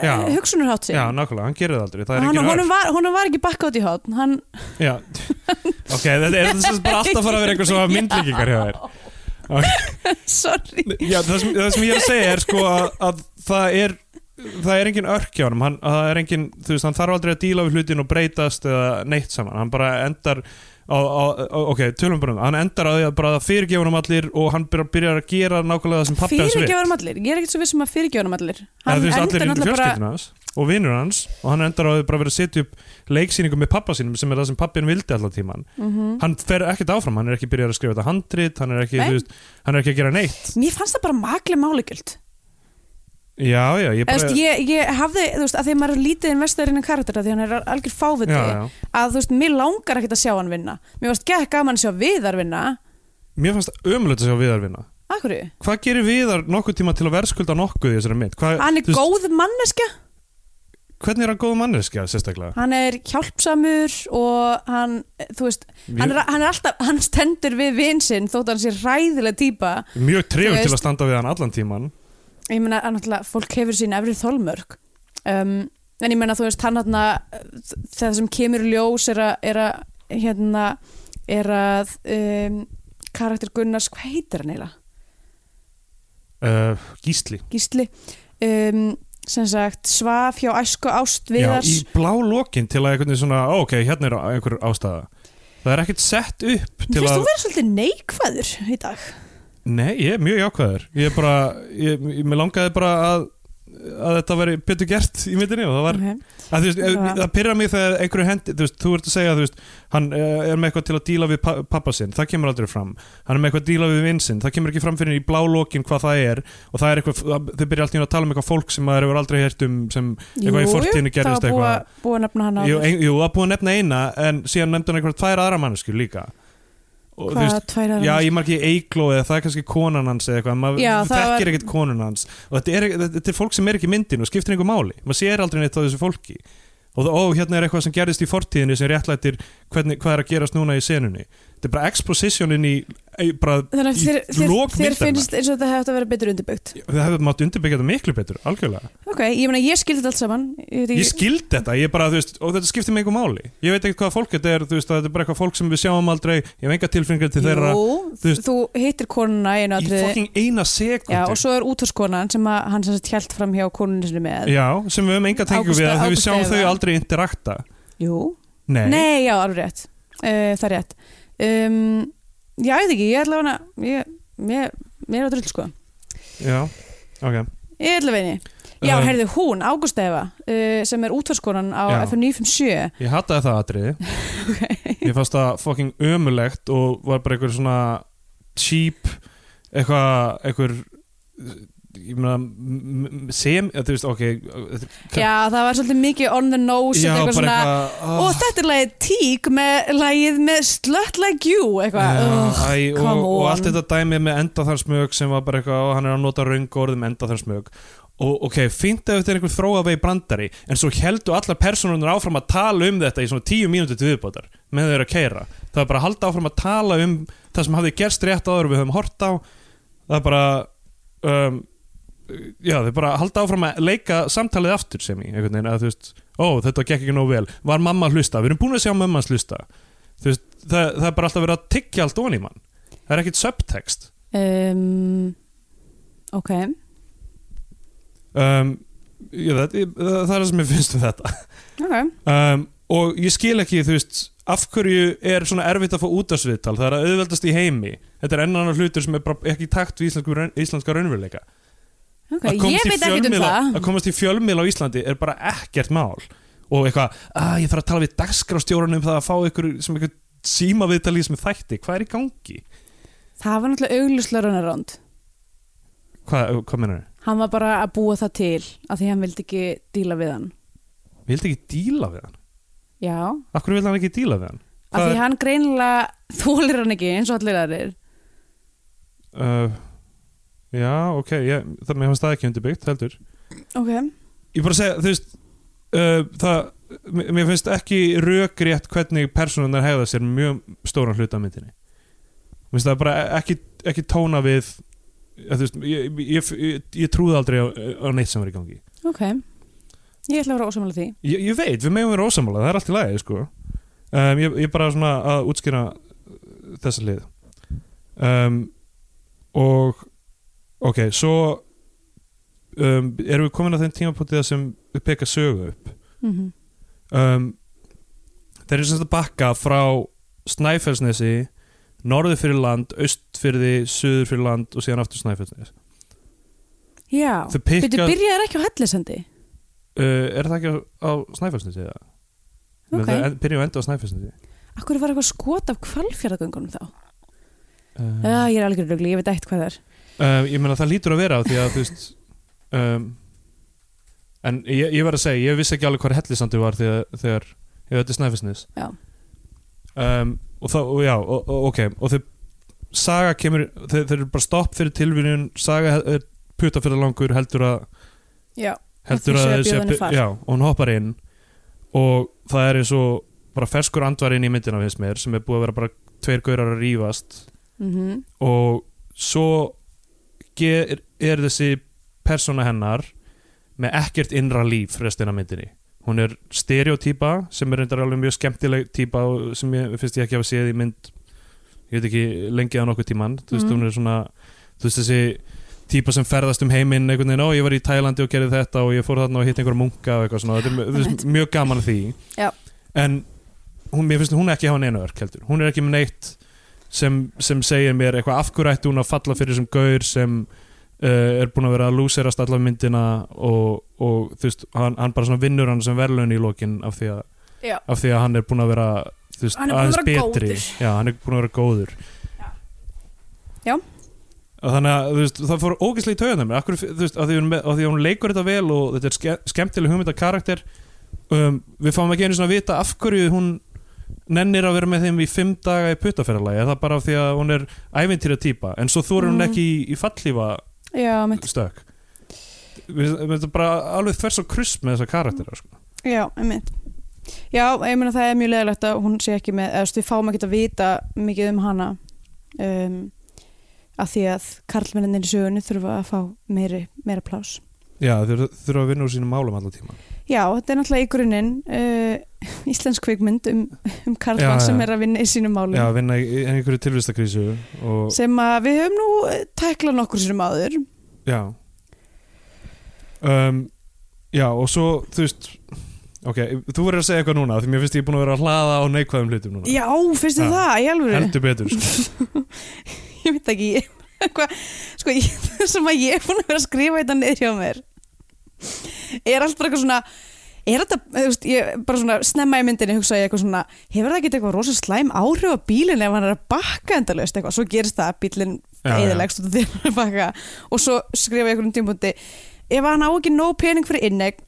Já.
eh, hugsunarhátt
Já,
sinn
nákvæmlega, hann gerir það aldrei Það er
Hann,
engin
honum, var, honum var ekki bakka út í hotn hann,
öll Já, ok, þetta er þess að bara alltaf að fara að vera einhver svo myndlíkingar hjá þér
sorry
Já, það sem, það sem ég er að segja er sko að, að það er það er engin örk hjá honum hann, að það er engin, þú veist, hann þarf aldrei að díla við hlutin og breytast eða neitt saman hann bara endar á, á, á, ok, tölum bara um það, hann endar á því að bara fyrirgefa honum allir og hann byrjar- byrjar að gera nákvæmlega það sem pappi hans vill.
fyrirgefur um allir, ég er ekkert svo vissum að fyrirgefur um allir
Hann það
endar
allir inn í
náttúrulega bara-
fjölskyldun hans og vinnur hans og hann endar á því bara að vera að setja upp leiksýningu með pappa sínum sem er það sem pappin vildi alltaf tíman hann fer ekkert áfram, hann er ekki byrjað að skrifa þetta handrit hann er ekki,
Mhm. Nei.
þú veist, hann er ekki að gera neitt
Mér fannst það bara makli málegjöld
já, já, ég bara
ég, ég, ég hafði, þú veist, að því að maður er lítið investor innan karaktera, því hann er algjör fáviti
já, já.
að þú veist, mér langar ekkert að sjá hann vinna Mér varst gekk gaman að sjá Viðar vinna
mér fannst ömulegt að sjá Viðar vinna
Af hverju?
hvað gerir Viðar nokkuð tíma til að verðskulda nokkuð í þessari mynd Hva,
Hann er góð manneskja
hvernig er hann góð manneskja sérstaklega
Hann er hjálpsamur og hann, þú veist, hann er, hann er alltaf, hann stendur við vinsinn þótt hann sé ræðilega típa
mjög
Þú
trefur
veist-
til að standa við hann allan tíman
ég meina að náttúrulega fólk hefur sín efri þolmörk um, en ég meina þú veist hann hérna það sem kemur í ljós er að, er að hérna er að um, karakter Gunnars, hvað heitir hann eiginlega?
uh, Gísli
Gísli um, sem sagt svaf hjá æsku ást
já,
viðars
í blá lokin til að einhvern veginn svona ó, ok, hérna er einhver ástæða það er ekkert sett upp til
finnst
að
þú verið svolítið neikvæður í dag
Nei, ég er mjög jákvæður Ég er bara, ég, ég, mér langaði bara að að þetta veri betur gert í myndinni og það var,
okay.
að, þú veist, að,
Já.
það pyrra mig þegar einhverju hendi, þú veist, þú ert að segja þú veist, hann eh, er með eitthvað til að díla við pa- pappa sinn, það kemur aldrei fram hann er með eitthvað að díla við vinn sinn, það kemur ekki fram fyrir í blá lokin hvað það er og það er eitthvað, það- þau byrja alltaf að tala um eitthvað fólk sem maður hefur aldrei hert um sem, Eitthvað í fortíðinni
það
gerðist
var búið að- búið að nefna hann á
jú, ein, jú, það er búið að nefna eina en síðan nefndi hann eitthvað tvær aðra mannesku líka og, þú
hvað tvær aðra
Já, ég margir Eigló eða það er kannski konan hans eða eitthvað, maður
Já, það
þekkir
var-
ekkert konun hans og þetta er, þetta- þetta er fólk sem er ekki í myndinu og skiptir einhver máli, maður sér aldrei neitt á þessu fólki og það, ó, hérna er eitthvað sem gerðist í fortíðinni sem réttlættir hvernig, hvað er að gerast núna í senunni þetta er bara expositionin í, í bara,
þannig að
í
þér, þér,
lok
þér
myndarinnar.
finnst eins og þetta hefði átt að vera betur undirbyggt
það hefur mátt undirbyggja þetta miklu betur, algjörlega
ok, ég meina ég skildi þetta allt saman ég, veit
ég
ekki-
skild þetta, ég bara, þú veist, og þetta skiptir mig einhver máli ég veit ekkert hvaða fólk þetta er, þú veist, að þetta er bara eitthvað fólk sem við sjáum aldrei, ég hef enga tilfinningar til þeirra
Jú,
þú
þú,
veist-
hittir konuna í einu
í
atriði
fucking eina
Já,
sekundu
og svo er útvarskonan sem að, hann sem sagt hjælt fram hjá konunni sinni með
Já, sem við höfum enga tengu
Ágústa-
við að því við
Ágústa
sjáum
Eva.
þau aldrei interakta
Jú,
Nei,
nei, já, alveg rétt uh, Það er rétt um, Já, ég veit ekki, ég ætla hana ég, ég, Mér er að drull sko
já, ok
Ég ætla veini Já,
Um,
heyrðu, hún, Ágústefa uh, sem er útvarskonan á
Já.
FN957
Ég hataði það atriði Ég fannst það fucking ömulegt og var bara einhver svona cheap eitthvað, einhver ég meina m- m- sem, eða þú veist, ok þetta er-
Já, það var svolítið mikið on the nose þetta
já, bara
eitthvað svona
eitthvað
Og þetta er lagið tík með lagið með slött like you eitthvað
Já,
Ugh.
æ, og,
come
og
on.
allt þetta dæmi með enda þar smög sem var bara eitthvað og hann er að nota raungorðum enda þar smög og ok, fínt ef þetta er einhver þróavei brandari en svo heldu allar personunar áfram að tala um þetta í svona tíu mínúti til viðbótar með þau eru að keira það er bara að halda áfram að tala um það sem hafði gerst rétt áður en við höfum hort á það er bara um, já, þau bara halda áfram að leika samtalið aftur sem í einhvern veginn að þú veist, ó þetta gekk ekki nóg vel var mamma að hlusta, við erum búin að sjá mamma að hlusta þú veist, það, það er bara alltaf verið að tyggja allt ofan í mann, það er ekkit subtext
um, ok
um, já, það, það, það er það sem ég finnst um þetta
ok,
um, og ég skil ekki, þú veist af hverju er svona erfitt að fá útarsviðtal það er að auðveldast í heimi þetta er enn annar hlutur sem er bara ekki í takt við íslensku, raun- íslenska raunveruleika
okay.
Að komast
ég
í
veit ekkert um
fjölmiðla-
það
að komast í fjölmiðla á Íslandi er bara ekkert mál og eitthvað, að ég þarf að tala við dagskrástjóran um það að fá ykkur sem ykkur síma viðtalið sem er þætti, hvað er í gangi?
það var náttúrulega augljuslega runaround
Hvað, hvað menar þau?
hann var bara að búa það til af því hann vildi ekki díla við hann
Við vildi ekki díla við hann
já,
Af hverju vil hann ekki díla við hann?
af
Hvað
því
er-
hann greinilega þólir hann ekki eins og allir aðrir
Uh, já, ok, ég, það mér fannst það ekki undirbyggt heldur
ok,
Ég bara segja, þú veist uh, það, mér mér finnst ekki rökrétt hvernig personunar hegða sér mjög stóran hluta af myndinni Mér finnst það bara e-, ekki, ekki tóna við að, þú veist, ég, ég, ég, ég trúði aldrei á, á neitt sem var í gangi
ok ég ætla að vera ósamlega því
Ég, ég veit, við megum vera ósamála, það er allt í lagi sko. um, ég, ég bara svona að útskýra uh, þessa lið um, og ok, svo um, erum við komin að þeim tímapunktið sem við peka sögu upp
mm -hmm.
um, þeir eru semst að bakka frá Snæfellsnesi norður fyrir land, aust fyrir því suður fyrir land og síðan aftur Snæfellsnes
já,
þau
betur
pikka, uh,
byrjaðir ekki á hellisendi
er það ekki á, á Snæfellsnesi eða?
Ok.
Okay. það byrja og enda á Snæfellsnesi
akkur var eitthvað skot af kvalfjörðagöngunum þá
um,
Já, ég er algjör rögli, ég veit eitt hvað það er
um, ég meina það lítur að vera af því að þú veist um, en ég, ég verð að segja, ég vissi ekki alveg hvað hellisandi var þegar, þegar ég veit Snæfellsnes
Já.
um, og þá, og já, og, og, ok og þau, saga kemur þau, þau eru bara stopp fyrir tilvíðun saga he- er puta fyrir langur heldur að
Já,
heldur
Að
að,
þau séu
að,
að bjóða henni far.
já, og hún hoppar inn og það er eins og bara ferskur andvar inn í myndina finnst mér sem er búið að vera bara tveir gaurar að rífast
mm
og svo ger, er þessi persóna hennar með ekkert innra líf restina af myndinni hún er stereotýpa sem er reyndar alveg mjög skemmtileg týpa og sem ég finnst ég ekki hafa séð í mynd ég veit ekki lengið á nokkuð tíman þú veist
Mhm.
hún er svona þú veist þessi týpa sem ferðast um heiminn einhvern veginn, ó ég var í Tælandi og gerði þetta og ég fór þarna og hitt einhver munka og eitthvað svona þetta er mjög- þú veist, mjög gaman að því
Já.
en hún, mér finnst hún ekki hafa neina örk heldur hún er ekki með neitt sem, sem segir mér eitthvað af hverju ætti hún að falla fyrir sem gaur sem uh, er búin að vera að lúserast allar myndina og, og þú veist, hann, hann bara svona vinnur hann sem verðlaun í lokin af því að,
Já.
af því að hann er búin að vera þú veist,
Hann er búinn að
aðeins
vera
betri
góður.
Já, hann er búin að vera góður
Já.
Og Þannig að þú veist, það fór ógeðslega í taugarnar á mér Akkur, þú veist, að því, hún með- af því að hún leikur þetta vel og þetta er ske, skemmtileg hugmynda karakter um, Við fáum ekki einu svona að vita af hverju hún nennir að vera með þeim í fimm daga í puttaferðalagi, er það bara af því að hún er ævintýra típa, en svo þorir hún
Mm.
ekki í, í fallífa
Já, mitt,
stökk Við- við- Þetta er bara alveg þvers og krust með þessa karaktera sko.
já, mitt Já, ég meina það er mjög leðilegt að hún sé ekki með, eða þú veist, við fáum ekkert að vita mikið um hana um, að því að karlmenninir í sögunni þurfa að fá meiri, meira plás
Já, þeir þurfa að vinna úr sínum málum allan tíma
Já, þetta er náttúrulega í grunninn uh, íslensk kvikmynd um, um karlmann
Já, já.
sem er að vinna í sínum málum
Já, vinna í í einhverju tilvistakrísu og,
sem að við höfum nú tæklað nokkur sérum áður
Já um, Já, og svo þú veist Ok, þú verður að segja eitthvað núna því mér finnst ég búin að vera að hlaða á neikvæðum hlutum núna
Já, finnst þið
Já.
það, í alvöru
Heldur betur sko.
ég veit ekki ég, hva, sko, ég, það sem að ég er búin að vera að skrifa þetta niður hjá mér er allt bara eitthvað svona er þetta, þú veist, ég bara svona snemma í myndinni hugsa ég eitthvað svona hefur það ekki eitthvað rosa slæm áhrif á bílinn ef hann er að bakka endalaust eitthvað, svo gerist það að bílinn
Já, já.
eðilegst og þeir að bakka og svo skrifa ég einhvern tímpúndi ef hann á ekki nóg pening fyrir innegn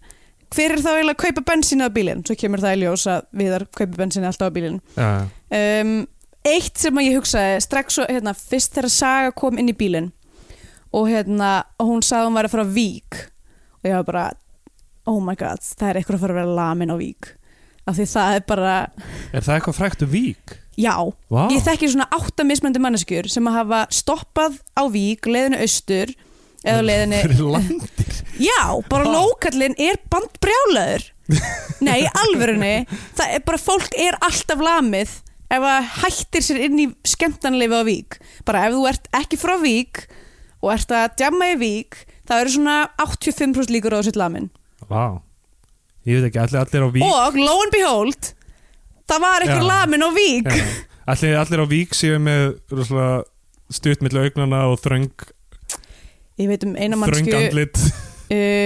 hver er þá eiginlega að kaupa bensín á bílinn svo kemur það í ljós að viðar kaupa bensín alltaf á bílinn
Já,
um, eitt sem að ég hugsaði strax og, hérna, fyrst þegar Saga kom inn í bílinn og hérna, og hún sagði að hún var að fara á vík og ég var bara oh my god, það er eitthvað að fara að vera lamin á vík af því það er bara
Er það eitthvað frækt um vík?
já,
Vá,
ég þekki svona átta mismöndi manneskjur sem að hafa stoppað á vík leiðinu austur eða á leiðinni
Fyrir land
Já, bara lókallinn er bandbrjálaður Nei, í alvörunni Það er bara, fólk er alltaf lamið ef að hættir sér inn í skemmtanleifi á Vík Bara ef þú ert ekki frá Vík og ert að djamma í Vík það eru svona 85% líkur á þessu lamin
Vá Ég veit ekki, allir, allir á vík
Og lo and behold það var einhver
Já.
lamin á Vík
Já. allir, allir á vík séu með rosalega stutt milli augnana og þröng,
Ég veit um eina
þröng
mannsku uh,
andlit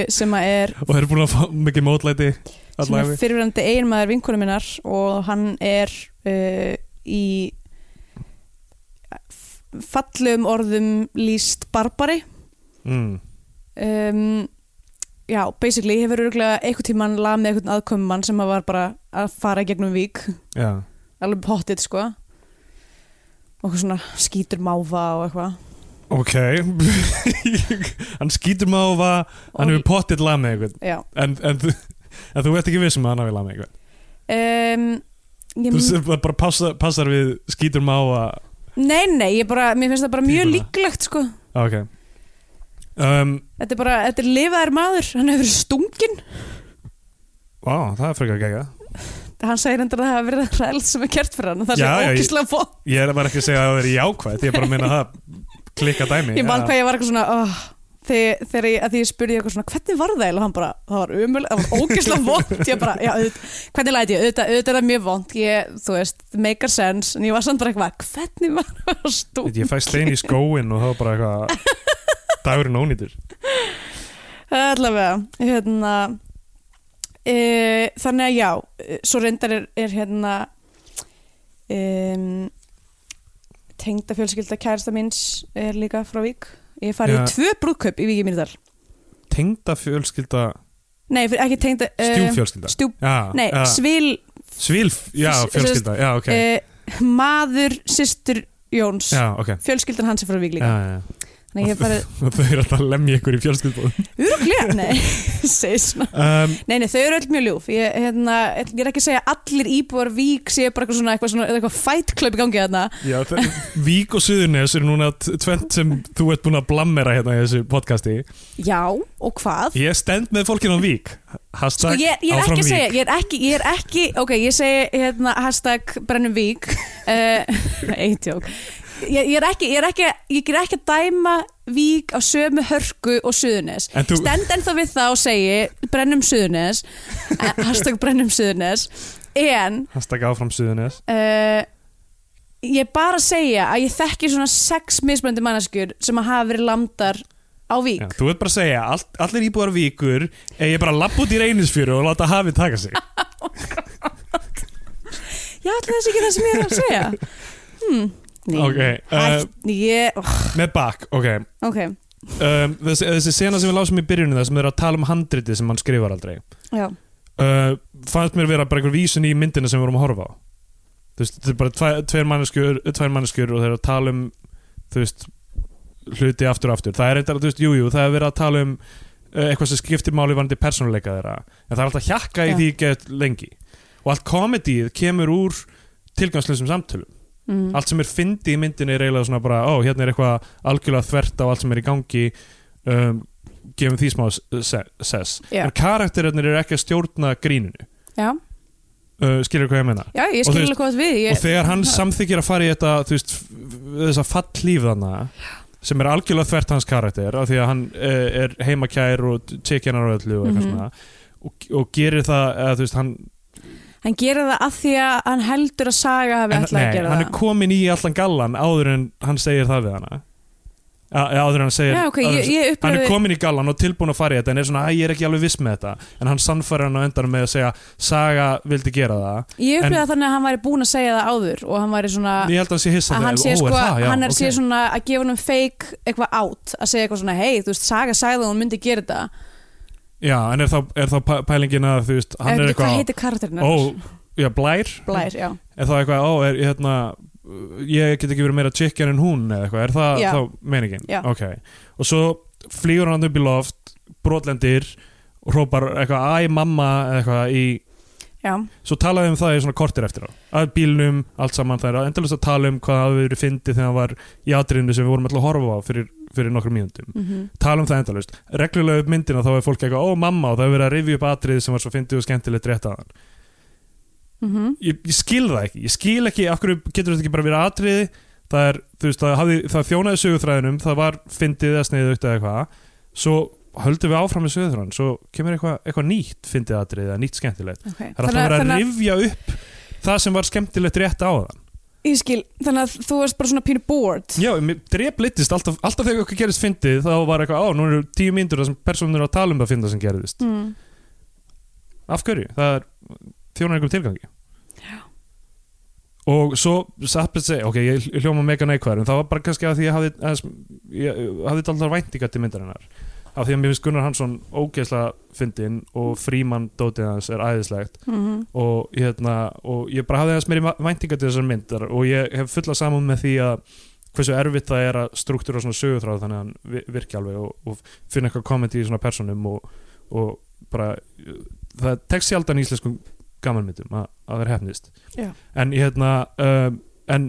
sem að er
og eru búin að fá mikið mótlæti
sem
allar
er
æfi
fyrirverandi eiginmaður vinkonu minnar og hann er uh, í f- fallum orðum líst barbari
mm.
um, já, basically hefur örgulega einhvern tímann lað með einhvern aðkomumann sem að var bara að fara í gegnum vík
Já,
alveg pottit sko og eitthvað svona skítur máfa og eitthvað
ok Hann skýtur máfa Hann hefur
og,
pottitt lag með einhvern
já,
en, en, þú- en þú ert ekki vissum að hann hafi lag með einhvern
um, ég,
Þú sem bara passa, passar við skýtur máfa
nei, nei, ég bara mér finnst það bara mjög
Típuna.
líklegt sko
Ok um,
þetta er bara, þetta er lifaðar maður hann hefur verið stungin
Vá, það er frekar gegja
hann segir endur að það hafa verið ræðilegt sem er kert fyrir hann og það
Já,
sé
já, ég-
ókýrslega fó
Ég er bara ekki að segja að það veri jákvæð Ég er bara að minna það klikka dæmi
ég man
Já.
hvað ég var eitthvað svona oh, þegar, þegar ég, að því ég spurði ég eitthvað svona hvernig var það eiginlega?" og hann bara, það var umul það var ókýrslega vond ég bara, já, auð, hvernig læti ég, auðvitað, auðvitað er það mjög vond ég, þú veist, make a sense en ég var samt bara eitthvað, hvernig var það stú
Ég fæ stein í skóin og það var bara eitthvað Dagurinn ónýtur
allavega, hérna e, þannig að já e, svo reyndar er, er hérna e, tengda fjölskylda kærasta minns er líka frá Vík ég hef farið
Já.
í tvö brúðkaup í Vík í Mýrdal
Tengda fjölskylda,
nei, fyrir- ekki tengda
stjúfjölskylda
stjú,
Já,
Eh, nei,
já.
svil
Svílf, já,
s-
fjölskylda Já, Ah. ok,
e, maður, systur Jóns
já, ok
fjölskyldan hans er frá Vík
Já,
líka
já, já.
þannig að ég hef farið,
Og Þau eru alltaf að lemja ykkur í fjölskylda
uruglega, nei segi svona
um,
Nei, nei, þau eru öll mjög ljúf ég, hérna, ég er ekki að segja að allir íbúar vík séu bara eitthvað svona, eitthvað svona eitthvað fight club í gangi þarna
já, þau- Vík og Suðurnes eru núna t- tvennt sem þú ert búin að blammera hérna í þessu podcasti
Já, og hvað?
Ég stend með fólkinu á Vík
Sko,
Hashtag
ég, ég er
áfram
ekki að
Vík.
segja, ég er ekki, ég er ekki ok, ég segi hérna hashtag brennum vík uh, eitjók ég, ég er ekki, ég er ekki, ég er ekki að dæma vík á sömu hörku og suðunis
En þú-
stend ennþá við það og segi brennum suðunis eh, hashtag brennum suðunis en
Hashtag áfram Suðurnes
uh, ég er bara að segja að ég þekki svona sex mismöndi manneskjur sem að hafa verið landar á vík
Já, þú ert bara að segja, all, allir íbúar víkur eða ég bara lapp út í reynisfjöru og láta hafið taka sig
já, ætli það sé ekki það sem ég er að segja hmm. Nei,
Ok, eh,
hætt, ég, oh,
með bakk, ok
ok
um, þessi, þessi sena sem við lásum í byrjunum það sem er að tala um handritið sem hann skrifar aldrei
já,
uh, fannst mér vera bara einhver vísun í myndina sem við vorum að horfa á þú veist, þetta er bara tve, tveir manneskjur, tveir manneskjur og þeir eru að tala um þú veist, hluti aftur og aftur það er eitthvað, þú veist, jújú, jú, það er verið að tala um uh, eitthvað sem skiptir máli varandi persónuleika þeirra, en það er alltaf hjakka í
Já.
því get lengi og allt komedíð kemur úr tilgangslösum samtölum
mm.
allt sem er fyndi í myndinni er eiginlega svona bara ó, hérna er eitthvað algjörlega þvert á allt sem er í gangi um, gefum því smá s- se- sess
Já.
en karakterinir eru ekki að stjórna gríninu
já,
uh, skilur hvað ég meina
já, ég
Og
skil
þú veist-
alveg hvað þú átt við
og
ég,
þegar hann samþykir að fara í þetta þú veist, f- þessa fallíf þarna sem er algjörlega þvert hans karakter af því að hann eh, er heimakær og tjekjanar og öllu og eitthvað
Mhm.
svona og, og gerir það, eða, þú veist, hann,
hann gerir það að því að hann heldur að saga hafi
en,
alltaf að gera
hann er
það
komin í allan gallan áður en hann segir það við hana Á- áður en hann segir
já, ok,
áður en-
ég, ég
hann er
upplöfi
komin í gallan og tilbúin að fara í þetta en er svona, að ég er ekki alveg viss með þetta en hann sannfæri hann á endanum með að segja Saga vildi gera það
ég upplöfi
en-
það þannig að hann væri búin að segja það áður og hann væri svona
ég held að hann sé hissa
að hann sé
"Ó,
sko,
það? Já,
hann er
ok."
sé svona að gefa hann fake eitthvað átt, að segja eitthvað svona hei, þú veist, Saga sagði að hún myndi gera þetta
já, en er þá, er þá pæ- pælingin að þú veist, hann
Ég veit
er
ekki hvað
eitthvað
heitir karakterinn
ó,
hennar?
já, blær
Blær, já,
er það eitthvað, ó, er hérna ég get ekki verið meira chicken en hún eða eitthvað, er það
Já.
þá meiningin
Já.
ok, og svo flýgur hann upp í loft brotlendir, hrópar eitthvað, æ, mamma, eða eitthvað í
já,
svo talaði um það í svona kortir eftir á að bílnum, allt saman, það er endalist að tala um hvað það hafi verið fyndið þegar hann var í atriðinu sem við vorum alltaf að horfa á fyrir fyrir nokkrum mínúndum
mm -hmm.
tala um það endalaust, reglulega upp myndina þá er fólk eitthvað, ó mamma og það er verið að rifja upp atrið sem var svo fyndið og skemmtilegt rétt aðan
Mhm.
ég, ég skil það ekki, ég skil ekki af hverju getur þetta ekki bara verið atriði það er, þú veist, það, hafði, það þjónaði sögurþræðinum það var fyndið eða sneiðið aukt eða eitthvað svo höldum við áfram með sögurþræðin svo kemur eitthvað, eitthvað nýtt fyndið atriði eða nýtt skemmtilegt,
okay.
það er alltaf verið að rifja upp það sem var skemmtilegt rétt á það
ég skil, þannig að þú varst bara svona pínu bored
já, mér drep litist alltaf, alltaf þegar okkur gerist fyndið þá var eitthvað, á, nú eru tíu mínútur þar sem personur eru að tala um það fyndið sem gerðist
mm.
af hverju, það er þjónar einhverjum tilgangi og svo satt að segja, ok, ég hljóma mega neikvæður en það var bara kannski að því ég hafði aðeins, ég hafði alltaf væntingar til myndarinnar af því að mér finnst Gunnar Hansson ógeðslega fyndin og frímann dótið hans er æðislegt
Mm
og, hérna, og ég bara hafði aðeins meiri væntingar til þessar myndar og ég hef fulla saman með því að hversu erfitt það er að struktúra svona sögutráð þannig að hann vi- virki alveg og, og finna eitthvað komedi í svona personum og, og bara það tekst sjaldan í íslenskum gamanmyndum að, að það er hefnist
Já.
en ég hérna um, en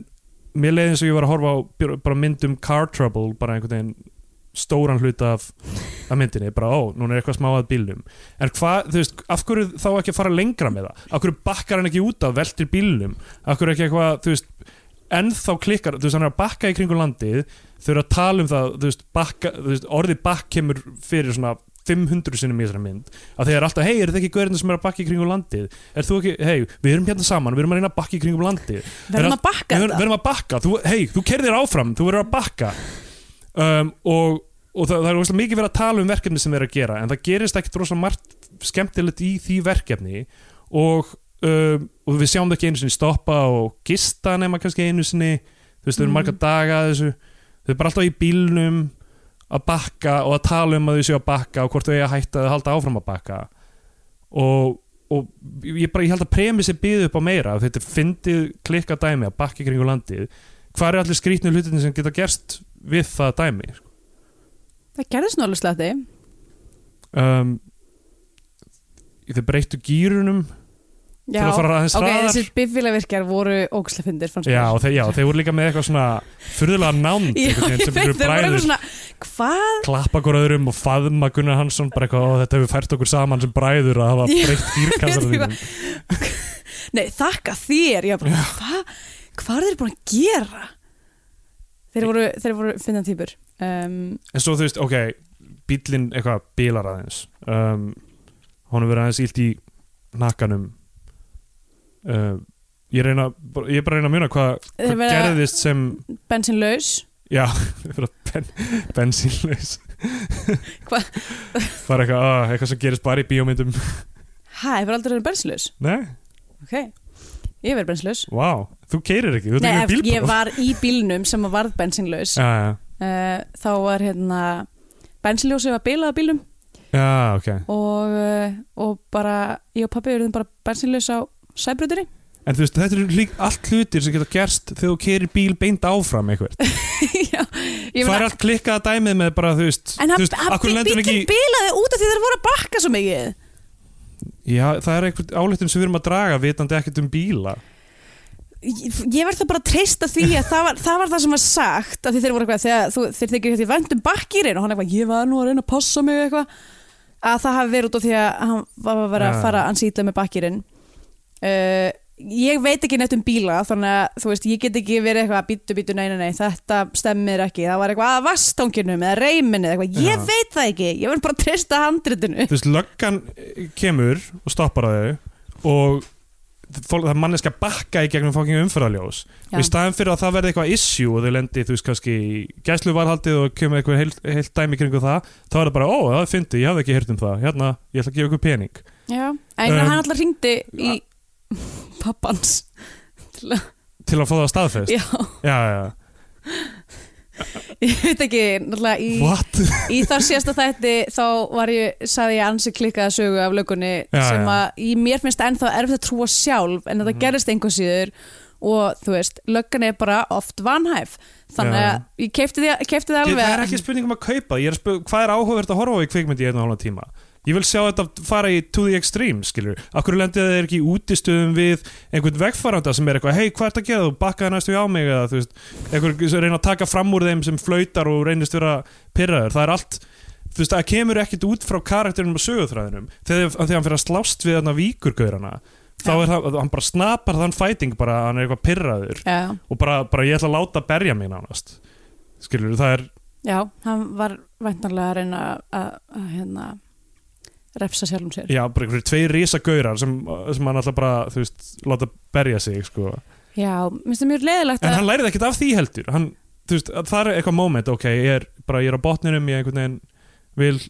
mér leiði eins og ég var að horfa á björ- bara myndum Car Trouble bara einhvern veginn stóran hluta af, af myndinni, bara ó, núna er eitthvað smá að bílnum en hvað, þú veist, af hverju þá ekki að fara lengra með það, af hverju bakkar hann ekki út af veltir bílnum, af hverju ekki eitthvað þú veist, ennþá klikkar þú veist, hann er að bakka í kringum landið þau eru að tala um það, þú veist, bakka, þú veist orðið bakk kemur fyrir svona 500 sinnum í þessari mynd, að þeir eru alltaf hei, eru þið ekki gaurinn sem er að bakka í kringum landið er þú ekki, hei, við erum hérna saman, við erum að reyna að bakka í kringum landið
verðum að bakka
við
þetta
ver, verðum að bakka, þú, hei, þú kerðir áfram þú verður að bakka um, og, og það, það er óslega mikið verið að tala um verkefni sem þeir eru að gera, en það gerist ekkit rosalega margt skemmtilegt í því verkefni og, um, og við sjáum það ekki einu sinni stoppa og gista nema kannski einu sinni þú veist, þau eru
Mhm.
marga daga að þessu þau eru bara alltaf í bílnum að bakka og að tala um að þau séu að bakka og hvort þau eigi að hætta að halda áfram að bakka og, og ég, bara, ég held að premissi byði upp á meira af þetta er fyndið klikka dæmi að bakka í kringu landið hvað eru allir skrýtnu hlutinni sem geta gerst við það dæmi sko?
það gerðist nú alveg slatti
um, þau breyttu gýrunum
já,
að fara aðeins
ok,
hraðar.
þessir bifílavirkjar voru ógæslega fyndir fannst
já,
mér.
og þeir, já, þeir voru líka með eitthvað svona furðulega nánd
Já,
einhvern veginn,
ég
sem
veit, þeir
einhverju
voru eitthvað
bræður
svona hvað?
klappa hver öðrum og faðma Gunnar Hansson bara eitthvað, "Ó, þetta hefur fært okkur saman sem bræður að hafa
Já,
breytt gýrkassan
veit ég
þínum
Nei, þakka þér, ég var bara hvað? Hvað eru þeir búin að gera? Þeir voru, þeir voru finna týpur um,
en svo þú veist, ok bíllinn eitthvað bílar aðeins um, honum verið aðeins ílt í nakkanum uh, ég reyna bara- ég er bara að reyna að muna hvað
Þeir
hva
verða-
gerðist sem
bensinlaus
já, vera ben, bensínlaus
Hva?
það er eitthvað, ah, eitthvað sem gerist bara í bíómyndum
Hæ, þeir voru aldrei verið bensinlaus
nei,
Ok, ég verið bensinlaus
wow, þú keirir ekki þú ert
Nei,
ekki
ef
með
ég
bílpróf
var í bílnum sem að varð bensinlaus
já, já,
uh, þá var hérna bensinljósið var bilað á bílnum
já, ok
og, uh, og bara ég og pappi eruðum bara bensinlaus á sæbrutinni
en þú veist, þetta eru líka allt hlutir sem geta gerst þegar þú keirir bíl beint áfram eitthvað
Já, ég
það er
meina
allt klikkað dæmið með bara, þú veist
En
þú
hann,
veist,
hann
af hverju lendir
bílinn
hann ekki í-
bilaði út af því þeir voru að bakka svo mikið
Já, það er einhvern álættum sem við erum að draga vitandi ekkert um bíla
ég ég verð það bara að treysta því að það var það, var það sem var sagt af því þeir voru eitthvað þegar þú, þeir þykir hérna vendum bakkýrin og hann eitthvað ég var nú að reyna að passa mig eitthvað að það hafi verið út af því að hann var að vera að
Já.
fara að ansýtla með bakkýrin uh, ég veit ekki neitt um bíla þannig að þú veist ég get ekki verið eitthvað bítu bítu nei nei nei þetta stemmir ekki það var eitthvað að vastónginum eða reyminu eitthvað ég
Já.
veit það ekki ég verð bara að treysta handritinu
Þú veist, löggan eh, kemur og stoppar að þau og fólk, það er manneska bakka í gegnum fóking umfyrðaljós og í staðan fyrir að það verði eitthvað issue og þau lendi, þú veist, kannski gæsluvarhaldið og kemur eitthvað heilt, heilt dæmi kringu það þá er það bara, ó, það er fyndið, ég hafði ekki heyrt um það hérna, ég ætla að gefa ykkur pening
Já, en um,
Um,
hann alltaf ringdi í pappans
til að fá það staðfest
Já,
Já, já,
ég veit ekki náttúrulega í,
what?
í þar síðasta þætti þá var ég, sagði ég ansi klikkaða sögu af lögunni
Já,
sem
já.
að í mér finnst ennþá erfitt að trúa sjálf en þetta
Mhm.
gerist einhver síður og þú veist, löggan er bara oft vanhæf þannig
Já.
að ég keipti því, keipti því
Ég-
alveg
Það er ekki spurning um að kaupa, ég er að spurning hvað er áhugavert að horfa á í kvikmyndi í einu og hálfa tíma Ég vil sjá þetta fara í to the extreme, skilur. Akkur lendið það er ekki í útistöðum við einhvern vegfaranda sem er eitthvað, hei, hvað ert að gera þú, bakkaði næstu í á mig eða þú veist, einhver sem reyna að taka fram úr þeim sem flautar og reynist vera pyrraður. Það er allt, þú veist, það kemur ekkit út frá karakterinum og sögutræðinum. Þegar, þegar hann fyrir að slást við þarna víkurgaurana, þá er hann, hann bara snapar þann fæting bara, að hann er eitthvað pyrraður
Já,
og bara, bara ég ætla að láta berja mig nánast. Skilur, það er,
já hann var væntanlega að reyna að, að hérna, refsa sjálfum sér.
Já, bara einhverju tvei risagaurar sem, sem hann alltaf bara, þú veist, láta berja sig, sko.
Já, minnst það mjög leðilegt
En
að...
hann lærið ekkert af því heldur. Hann, þú veist, það er eitthvað moment, ok, ég er bara, ég er á botninum, ég einhvern veginn vil,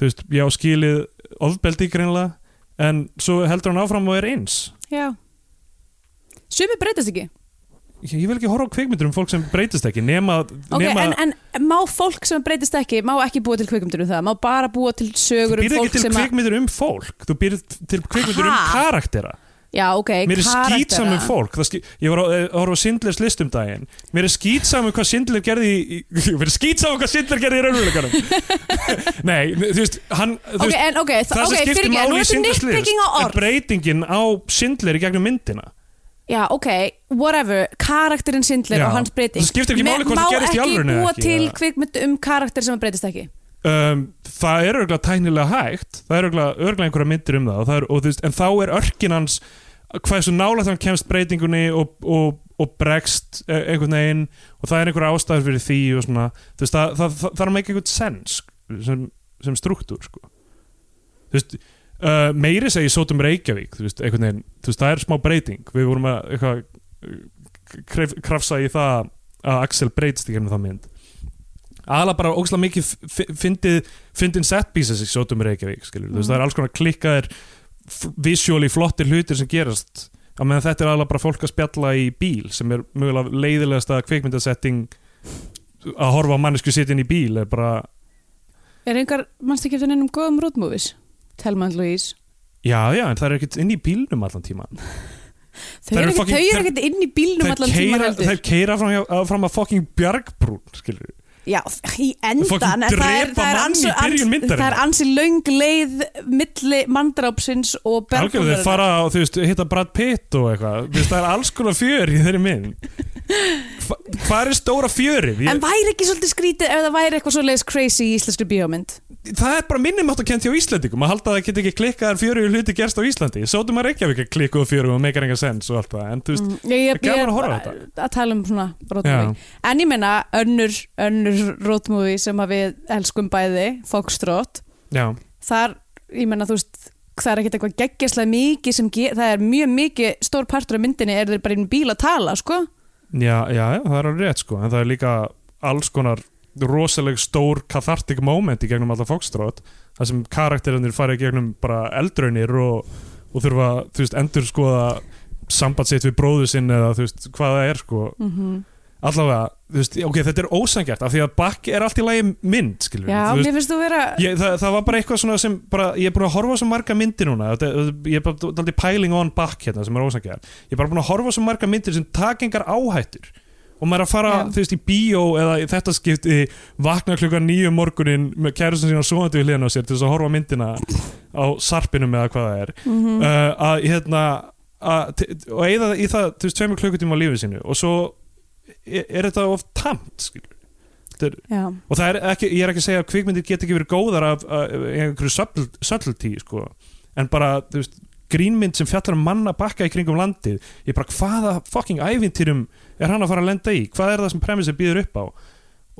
þú veist, ég á skilið ofbeldi greinlega, en svo heldur hann áfram og er eins.
Já. Sumi breytast ekki.
Ég, ég vil ekki horfa á kveikmyndur um fólk sem breytist ekki, nema,
Ok,
nema
en, en má fólk sem breytist ekki, má ekki búa til kvikmyndur um það, má bara búa til
þú
sögur um
býrð
fólk
ekki til
sem að...
kveikmyndur um fólk, þú býrð til kveikmyndur um
Ha?
karaktera.
Já, ok,
Mér er
karaktera.
skýtsam um fólk Það ský, Ég var að eh, horfa á Sindlers list um daginn Mér er skýtsam um hvað Sindler gerði í, í- Mér er skýtsam um hvað Sindler gerði í raunveruleikanum Nei, þú veist, hann, þú
Ok,
veist
en ok, það,
Það
ok,
sem skiptir
fyrirgeðu,
máli
nú
í
ertu
Sindlers
nitpicking á
list Er
orð.
breytingin á Sindler í gegnum myndina
Já, ok, whatever, karakterinn Sindler
Já.
og hans breyting.
Það skiptir ekki máli hvort það gerist í alvörunni eða
Má
ekki,
ekki búa til
eða?
kvikmynd um karakter sem að breytist ekki.
um, Það er örgulega tæknilega hægt Það er örgulega, örgulega einhverja myndir um það, og það er, og, þú veist, En þá er örkin hans Hversu nálægt hann kemst breytingunni Og, og, og bregst eh, einhvern veginn Og það er einhverja ástæður fyrir því og svona, þú veist, það, það, það, það er með einhvern sens sem, sem struktúr sko. Þú veist, uh, meiri segi Sotum Reykjavík þú veist, einhvern veginn, þú veist, það er smá breyting Við vorum að eitthvað, uh, kref, krafsa í það að Axel breytst í hérna það mynd aðla bara ógslag mikið f- fyndið fyndin set pieces í Sotum Reykjavík skilur, þú
Mhm.
veist, það er alls konar klikkaðir f- visually flottir hlutir sem gerast á meðan þetta er aðla bara fólk að spjalla í bíl sem er mögulega leiðilegasta kveikmyndasetting að horfa á mannesku sitin í bíl er bara,
Er einhver, mannstu ekki eftir neinum góðum road movies? Telma and Louise.
já já en það er ekkert inn í bílnum allan tíma
Þau
Þær
eru
eru
ekki,
fucking-
þau eru
þær-
ekkert inn í bílnum allan tíma heldur.
þeir keira fram, hjá- fram að fucking bjargbrún skilur,
Já, í endan.
Fucking
en það er- það
drepa
er
mann í
ansi-
byrjun
ansi-
myndarinnar.
Það er ansi löng leið milli mandrápsins og
algjörðu þeir
bergfólkarinnar.
fara og þú veist, hitta Brad Pitt og eitthvað, þú veist, það er alls konar fjör í þeirri mynd Hva, hvað er stóra fjörið?
En væri ekki svolítið skrítið ef það væri eitthvað svo leiðis crazy í íslenskri bíómynd?
það er bara minnum átt að kent hjá Íslandingum að halda að það geti ekki klikkaðar fjörugu hluti gerst á Íslandi sótum að Reykjavík er klikkuð fjörugu og meikar enga sens og allt það en þú veist,
Mm, ég, ég,
það er gaman
ég,
að horfa á
að, að tala um svona rótmúi
Já.
en ég meina önnur, önnur rótmúi sem að við elskum bæði Foxtrot,
já,
þar ég meina þú veist, það er ekkert eitthvað geggjaslega mikið sem, ge það er mjög mikið stór partur af myndinni er þeir bara inn í bíl að tala sko,
já, já, já, það er alveg rétt sko en það er líka alls konar rosaleg stór kathartik moment í gegnum alltaf fókstrót þar sem karakterinir fara í gegnum bara eldraunir og, og þurfa, þú veist, endur skoða samband sitt við bróðu sinn eða þú veist, hvað það er sko
mm
allavega, þú veist, ok, þetta er ósangjart af því að bakk er allt í lagi mynd, skilur
já, mér finnst þú vera
ég, það, það var bara eitthvað svona sem bara, ég er búin að horfa á svo marga myndir núna þetta, ég er bara daldið pæling on back hérna sem er ósangjar ég er bara búin að horfa á svo marga myndir sem taka engar áhættur og maður er að fara,
Já.
þú veist, í bíó eða í þetta skipti vakna klukkan nýju morgunin með kærusin sína svoðandi við hliðan á sér til þess að horfa á myndina á sarpinum eða hvað það er uh, að hérna að, t- og eigða í það, þú veist, tveimur klukkutíma á lífi sínu og svo er, er þetta of tamt, skilur
já,
og það er ekki, ég er ekki að segja að kvikmyndir get ekki verið góðar af af einhverju subtle- subtlety sko. en bara, þú veist, grínmynd sem fjallar um manna bakka í kringum landið ég bara, hvaða fucking ævintýrum er hann að fara að lenda í, hvað er það sem premissi býður upp á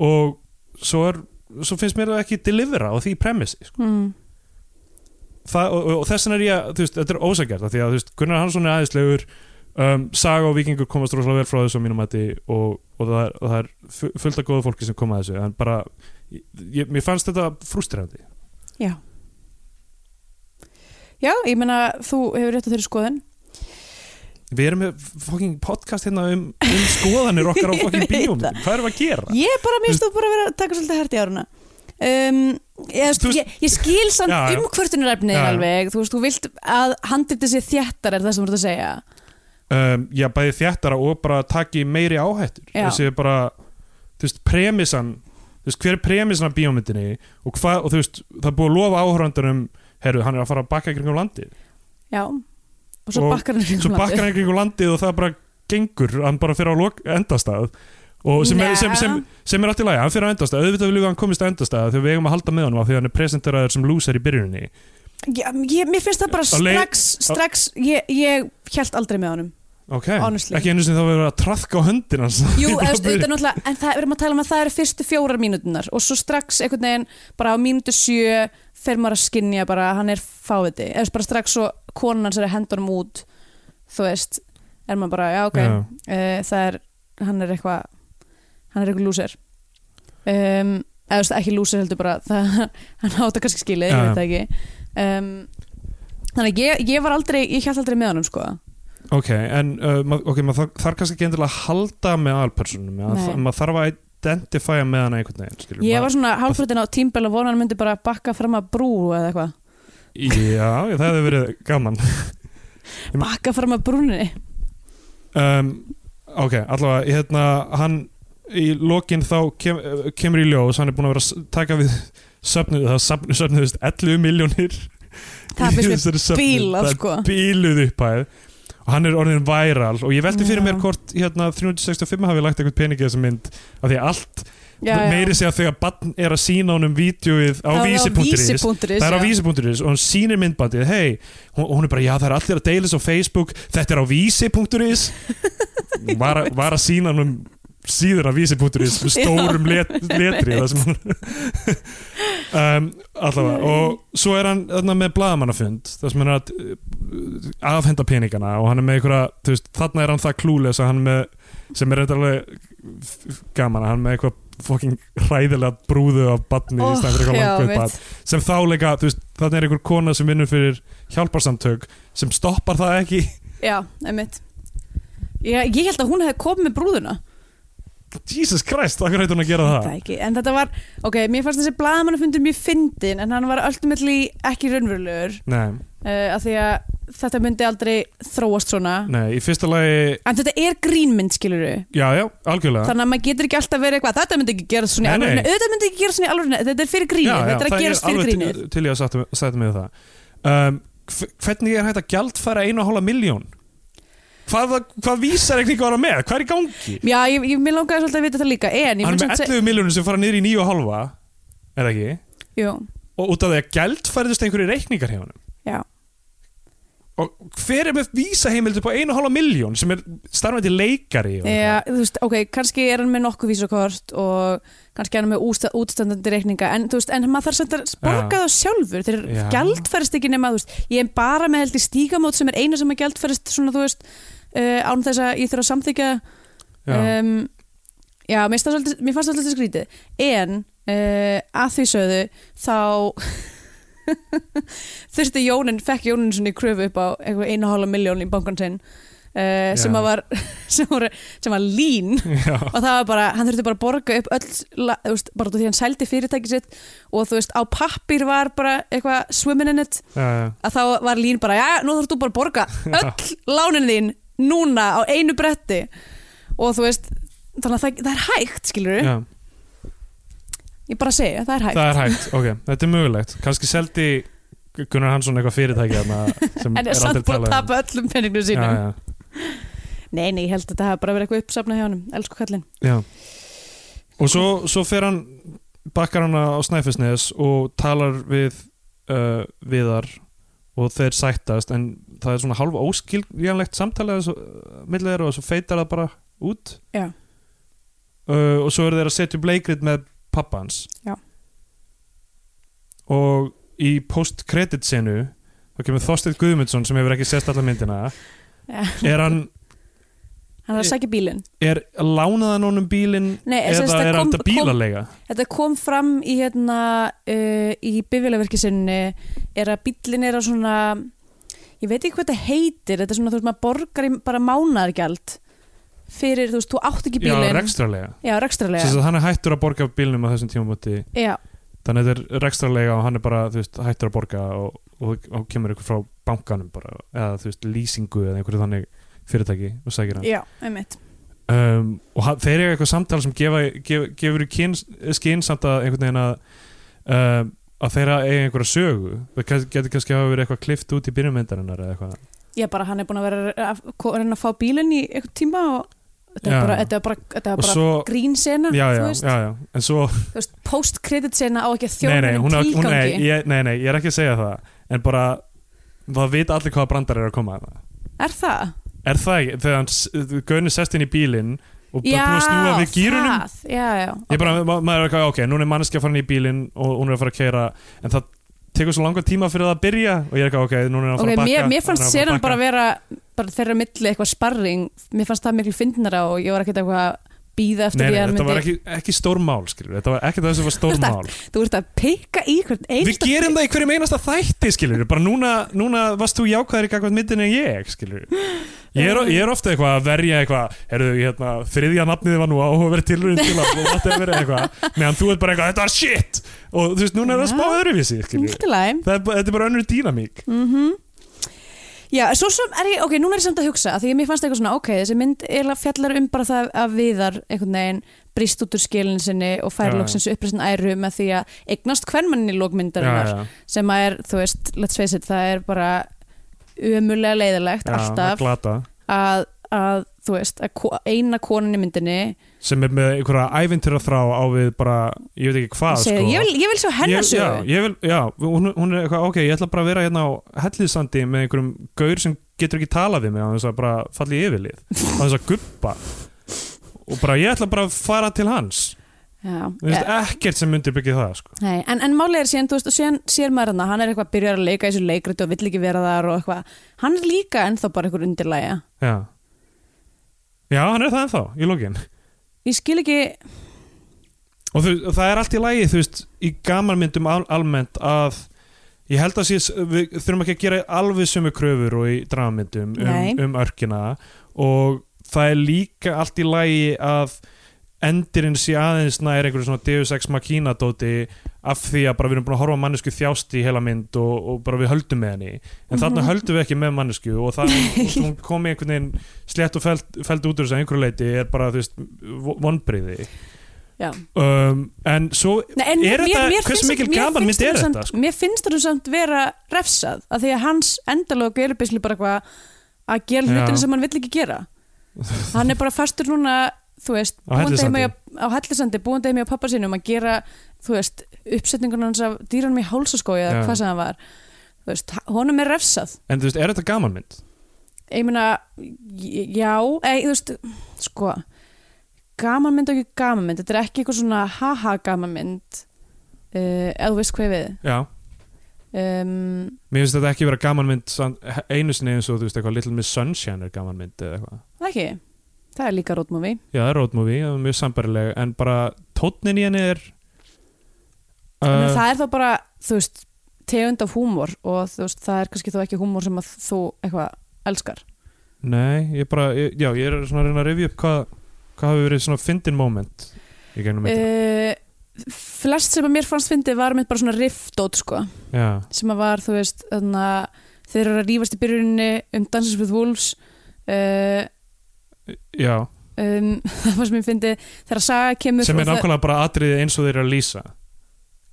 og svo er svo finnst mér það ekki delivera á því premissi sko.
mm,
það, og, og, og þess vegna er ég, þú veist, þetta er ósækjart af því að, þú veist, Gunnar Hansson er aðeinslegur um, Saga og Víkingur komast rosalega vel frá þessu á mínum hætti og, og það, er, það er fu- fullt af góða fólki sem koma að þessu en bara, ég, ég, mér fannst þetta frustrandi
já já, ég meina þú hefur rétt á þeirri skoðun
Við erum með fucking podcast hérna um, um skoðanir okkar á fucking
Ég veit
bíómyndum Hvað erum við að gera?
Ég er bara, mér finnst þú bara vera að taka svolítið hært í áruna um, ég,
Þú veist-
ég, ég skil samt
Já, já.
umhvertunarefnið
Já, já.
alveg, þú veist, þú vilt að handritið sé þjættar er það sem þú ert að segja
um, já, bæði þjættara og bara taki meiri áhættur
Já.
þessi er bara, þú veist, premissan þú veist, hver er premissan af bíómyndinni og hvað, og þú veist, það er búið að lofa áhörandunum herru, hann er að fara að bakka í kringum landið
já og svo
Og
bakkar hann í
svo
kringum
bakkar
landið.
hann í kringum landið og það bara gengur, hann bara fyrir á lok, endastað og sem er, sem, sem, sem er allt í lagi, hann fyrir á endastað auðvitað vilja hann komist á endastað þegar við eigum að halda með honum af því að hann er presenteraður sem loser í byrjuninni
Já, ég, mér finnst það bara
Á leið-
strax, strax ég, ég held aldrei með honum
ok,
Honestly.
ekki einu sem þá verður að traðka á höndin hans
Jú,
Frá
eftir,
byrjun.
auðvitað náttúrulega, en það erum að tala um að það eru fyrstu fjórar mínútunar og svo strax einhvern veginn bara á mínútu sjö fer maður að skinja bara að hann er fáviti eða bara strax svo konan hans er að henda honum út þú veist, er maður bara, já ok
Já.
uh, það er, hann er eitthvað hann er eitthvað lúser um, eða þú veist, ekki lúser heldur bara það, hann átta kannski skilið, ég
Já.
veit það ekki um, þannig að ég, ég var aldrei ég held aldrei með honum sko
ok, en uh, ma- ok, maður þarf, þarf kannski ekki endilega að halda með alpersonum
Nei.
maður maður þarf að identifæja með hann einhvern veginn skilur,
ég
maður-
var svona hálfröðin á tímbel og vonan myndi bara bakka fram að brú eða eitthvað
Já, það hefði verið gaman
bakka fram að brúninni
um, Ok, allavega hérna, hann í lokin þá kem, eh, kemur í ljós hann er búin að vera að s- taka við söfnuð, það söfnuð, söfnuðist 11 miljónir
Það finnst mér bílað,
bílað
sko.
bíluð upphæð og hann er orðin væral og ég velti fyrir
Já.
mér hvort hérna, 365 hafi lagt eitthvað peningi þessa mynd af því að allt, meiri segja þegar barn er að sína honum vídjóið á vísi.is
vísi.is
Það er á vísi.is og hún sýnir myndbandið hei, hún, hún er bara, já það er allir að deila þessu á Facebook, þetta er á vísi.is var, að- var að sýna hann um síður á vísi.is með stórum let, letri það sem hún um, allavega og svo er hann þarna, með blaðamannafund það sem hann er að uh, afhenda peningana og hann er með einhverja þú veist, þarna er hann það klúles að hann er með sem er eitthvað alveg gaman að hann er með eitthvað fucking hræðilega brúðu af badni
Oh,
í stæðan fyrir eitthvað langveit bad sem þá leika, þú veist, þannig er einhver kona sem vinnur fyrir hjálparsamtök sem stoppar það ekki
já, einmitt ég, ég held að hún hefði komið með brúðuna
Jesus Christ, af hverju hættu hún að gera það?
það ekki, en þetta var ok, mér fannst þessi blaðamannafundur mjög fyndin en hann var ultimately ekki raunverulegur
Nei,
uh, af því að þetta myndi aldrei þróast svona
nei, í fyrsta lagi
en þetta er grínmynd skiluru
já, já, algjörlega
þannig að maður getur ekki alltaf verið eitthvað þetta myndi ekki gera svona í
Nei, nei.
alvörinu auðvitað myndi ekki gera svona í alvörinu, þetta er fyrir gríni
já, já,
þetta er
það
að gerast fyrir
alveg
gríni
til- til ég að sætta- sætta mig við það um, hv- Hvernig er hægt að gjaldfæra einu og hálfa miljón? Hvað, hvað vísar ekki var að með? Hvað er í gangi?
já, ég, ég, mér langaði svolítið að vita þetta líka en ég
Hann er
fannst
með
samt se-
11 miljónir sem fara niður í 9,5 er það ekki?
Jú,
Og út af því að gjaldfærðust einhverju reikningar hjá hann
já
og hver er með vísaheimildi på 1,5 miljón sem er starfandi leikari og-
Já, þú veist, ok, kannski er hann með nokkuð vísakort og kannski er hann með ústa- útstandandi reikninga en, þú veist, en maður þarf samt að borga
Já.
það sjálfur þeir
Já.
gjaldferðist ekki nema þú veist, ég er bara með held í stígamót sem er eina sem að gjaldferðist svona þú veist uh, án þess að ég þurf að samþykja
Já.
um, já mér, finnst það svolítið, mér fannst það svolítið skrítið en uh, að því sögðu þá þurfti Jónin fekk Jónin svona í kröfu upp á einhver einu hálfa miljón í bankan sinn Uh, sem,
Já.
að var, sem, var, sem var lín
Já.
og það var bara, hann þurfti bara að borga upp öll, la, þú veist, bara út af því hann sældi fyrirtæki sitt og þú veist, á pappir var bara eitthvað swimming in it
Já,
að þá var lín bara, já, nú þarfst þú bara að borga öll lánin þín núna á einu bretti og þú veist, þannig að það, það er hægt skilur
já, já.
ég bara segja, það er hægt
það er hægt, ok, þetta er mögulegt kannski seldi Gunnar Hansson eitthvað fyrirtæki þarna sem
en
er
er samt
aldrei
búin að
talað um.
tapa öllum penningnum sínum
já,
nei, nei, ég held að þetta hafa bara verið eitthvað uppsafnað hjá honum elsku kallinn,
já, já. og svo, svo fer hann bakkar hana á Snæfellsnes og talar við uh, viðar og þeir sættast en það er svona hálfa óskiljanlegt samtalið millir þeirra og svo feitar það bara út
já,
uh, og svo eru þeir að setja upp leikrit með pappans
Já.
og í post-credit senu þá kemur Þorsteinn Guðmundsson sem hefur ekki sést alla myndina
Já.
er hann
hann er að sækja bílinn
er lánaðan honum bílinn
nei, sem sagt,
eða er hann
kom-
þetta bílalega
kom, þetta kom fram í hérna uh, í bifjölaverkisinni er að bílinn er að svona ég veit ekki hvað þetta heitir þetta er svona, þú veist, maður borgar í bara mánaðargjald fyrir, þú veist, þú átt ekki
já,
bílinn
rekstralega
Já,
sem
rekstrarlega
sagt, hann er hættur að borga af bílnum á þessum tímabóti
Já,
þannig að þetta er rekstralega og hann er bara þú veist, hættur að borga og, og, og kemur ykkur frá bankanum bara, eða þú veist, lýsingu eða einhverju þannig fyrirtæki og sækir hann
já, einmitt
um, og hann, þeir eru eitthvað samtal sem gefa, gef, gefur í kyn- skyn samt að einhvern veginn að um, að þeirra eigi einhverja sögu það kann- getur kannski hafa verið eitthvað klift út í byrjumyndarinnar eða eitthvað
ég bara, hann er búin að vera að að reyna að fá bílinn í einhvern tíma og þetta
Já.
er bara, þetta er bara, þetta er
og
bara
svo,
grínsena,
já, já,
þú veist,
já, já en svo,
þú veist post-credit sena á ekki að
nei, nei,
þjóna
hún,
hún
á- hún, nei,
tilgangi,
ég, nei, nei, ég er ekki að segja það en bara, það vita allir hvaða brandar er að koma þarna
er það?
Er það ekki? Þegar hann Gaunir sest inn í bílinn og bara búið að snúa við gýrunum
það, já, já,
Ég bara, ma maður er eitthvað, ok, núna er manneskja farin í bílinn og hún er að fara að keira en það tekur svo langan tíma fyrir það að byrja og ég er eitthvað, ok, núna er hann að
ok,
fara að bakka
mér, mér fannst
núna er hann
senan
að fara
bara
að
að vera bara þeirra milli eitthvað sparring mér fannst það miklu fyndnara og ég var ekkert eitthvað að býða
Nei,
eftir
nei,
því að hann
þetta var
myndi
ekki, ekki stór mál, skilur Þetta var ekki það sem var stór
Þetta-
mál
þú ert að pikka í hvern
Við
einasta
gerum það í hverjum einasta þætti, skilur Bara núna, núna varst þú jákvæður í gagvæmt myndin en ég, skilur Ég er, ég er ofta eitthvað að verja eitthvað Herðu, hérna, þriðja nafnið var nú áhugaverð tilröðin til að og þetta er verið eitthvað meðan þú ert bara eitthvað, þetta var shit og þú veist, núna er það spá öðruvísi, skilur
Allt í lagi.
Það er, ba- þetta er bara önnur dýnamík
Já, svo sem er ég, ok, núna er ég samt að hugsa að því að mér fannst eitthvað svona, ok, þessi mynd eiginlega fjallar um bara það að viðar einhvern veginn brist út úr skilin sinni og
Já,
fær
já.
loksins uppreistin æru með því að eignast hvernmannin í lókmyndarinnar
já,
sem að er, þú veist, let's face it, það er bara umulega leiðilegt
að
alltaf
glata
að, að, þú veist, að ko- eina konan í myndinni
sem er með einhverja ævintur að þrá á við bara, ég veit ekki hvað
segir,
sko.
ég, vil, ég vil sjá hennar
Ég- já,
sögu
ég vil, já, hún, hún er eitthvað, ok, ég ætla bara að vera hérna á hellisandi með einhverjum gaur sem getur ekki talað við mig á þess að bara falli í yfirlið á þess að guppa og bara ég ætla bara að fara til hans
Já,
þú veist, ekkert sem myndir byggja það sko.
Nei, en, en málið er síðan, þú veist, og síðan sér maður hann hann er eitthvað að byrja að leika í þessu leikrit og vill ekki vera þar og eitthvað, hann er líka ennþá bara einhver undirlæja.
já. já, hann er það ennþá í lokin
Ég skil ekki,
og þú, og það er allt í lagi, þú veist í gamanmyndum al almennt að ég held að sé, við þurfum ekki að gera alveg sömu kröfur og í dramamyndum
Nei.
um, um örkina og það er líka allt í lagi að endirinn sé aðeins nær einhverju svona Deus Ex Machina dóti af því að bara við erum búin að horfa á mannesku þjást í heila mynd og, og bara við höldum með henni en þarna höldum við ekki með mannesku og það og hún kom í einhvern veginn slett og feld, feld út úr þess að einhverju leiti er bara, þú veist, vonbriði
já.
um, en svo
Nei, en
Er þetta- hversu
finnst-
mikil
mér
gaman
finnst
mynd er
honum
þetta,
samt-
sko?
Mér finnst þetta samt vera refsað, af því að hans endalóku er byrjuslega bara eitthvað að gera
Já.
hlutinu sem hann vill ekki gera. Hann er bara fastur núna, þú veist,
Á
búandi heima
Hellisandi.
hjá- á hellisandi, búandi heima á pappa sínum að gera, þú veist, uppsetningun hans af dýranum í hálsaskói eða
Já.
hvað sem hann var. Þú veist, honum er refsað.
En þú veist, er þetta gamanmynd?
ég meina, j- já ei, þú veist, sko gamanmynd og ekki gamanmynd þetta er ekki eitthvað svona haha gamanmynd uh, eða þú veist hvað ég við
Já
um,
Mér finnst þetta ekki vera gamanmynd samt- einu sinni eins og þú veist eitthvað Little Miss Sunshine er gamanmynd eða eitthvað
það ekki, það er líka road movie
Já, það er road movie, það er mjög sambarileg en bara tónnin í henni er
uh,
uh,
það er þá bara, þú veist tegund af húmor og þú veist, það er kannski þá ekki húmor sem að þú eitthvað elskar
Nei, ég bara, ég, já, ég er svona að reyna að rifja upp hvað hvað hafi verið svona fyndin moment í gegnum myndina
uh, flest sem að mér fannst fyndi var mitt bara svona riffdót sko
Já,
sem að var, þú veist, þannig að þeir eru að rífast í byrjuninni um Dances with Wolves uh,
já,
um, það var sem ég fyndi þegar Saga kemur
sem
og
er
það-
nákvæmlega bara atriði eins og þeir eru að lýsa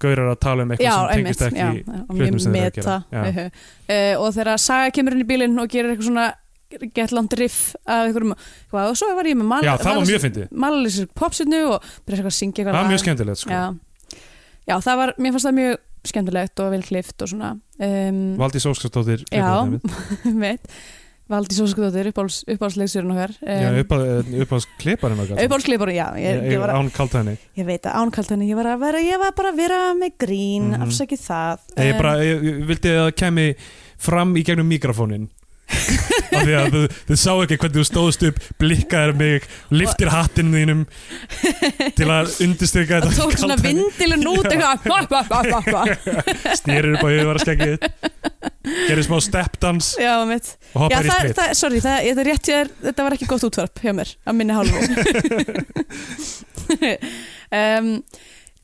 Gaurar að tala um
já,
eitthvað sem
einmitt,
tengist
já,
ekki
já, og
hlutum
ég
sem þeir eru að
meta
gera.
uh, og þegar Saga kemur inn í bílinn og gerir eitthvað svona getland riff af einhverjum hvað, og svo var ég með mal,
Já, það var mjög fyndið
malalysir popsinu og byrja eitthvað að syngja eitthvað
Það var
lag.
mjög skemmtilegt sko.
já. já, það var, mér fannst það mjög skemmtilegt og vel klift og svona um,
Valdís Óskarsdóttir
Já.
leikur þetta
mitt Valdís Óskudóttir, uppáhaldsleiksjörun okkar
einmitt.
um,
Já, uppáðs kliparinn okkar
uppáhaldsleipur, já ég, ég, var, að-
Án kalta henni
ég veit að ánkalt henni ég var að vera, ég var bara að vera með grín
Mhm.
afsakið það
Ég,
um,
bara, ég, ég vildi að það kemi fram í gegnum mikrofónin af því að þau- þau sá ekki hvernig þú stóðst upp blikkaðir mig, liftir hattinn þínum til að undirstyrka
það
þetta
tók svona vindilun út eitthvað
snýrir upp á yfirvara skeggið gerir smá steppdans
já, mitt já,
og hoppar í
það,
spil
það, sorry, það, ég, það er rétt, ég, þetta var ekki gott útvarp hjá mér, að minni hálfu um,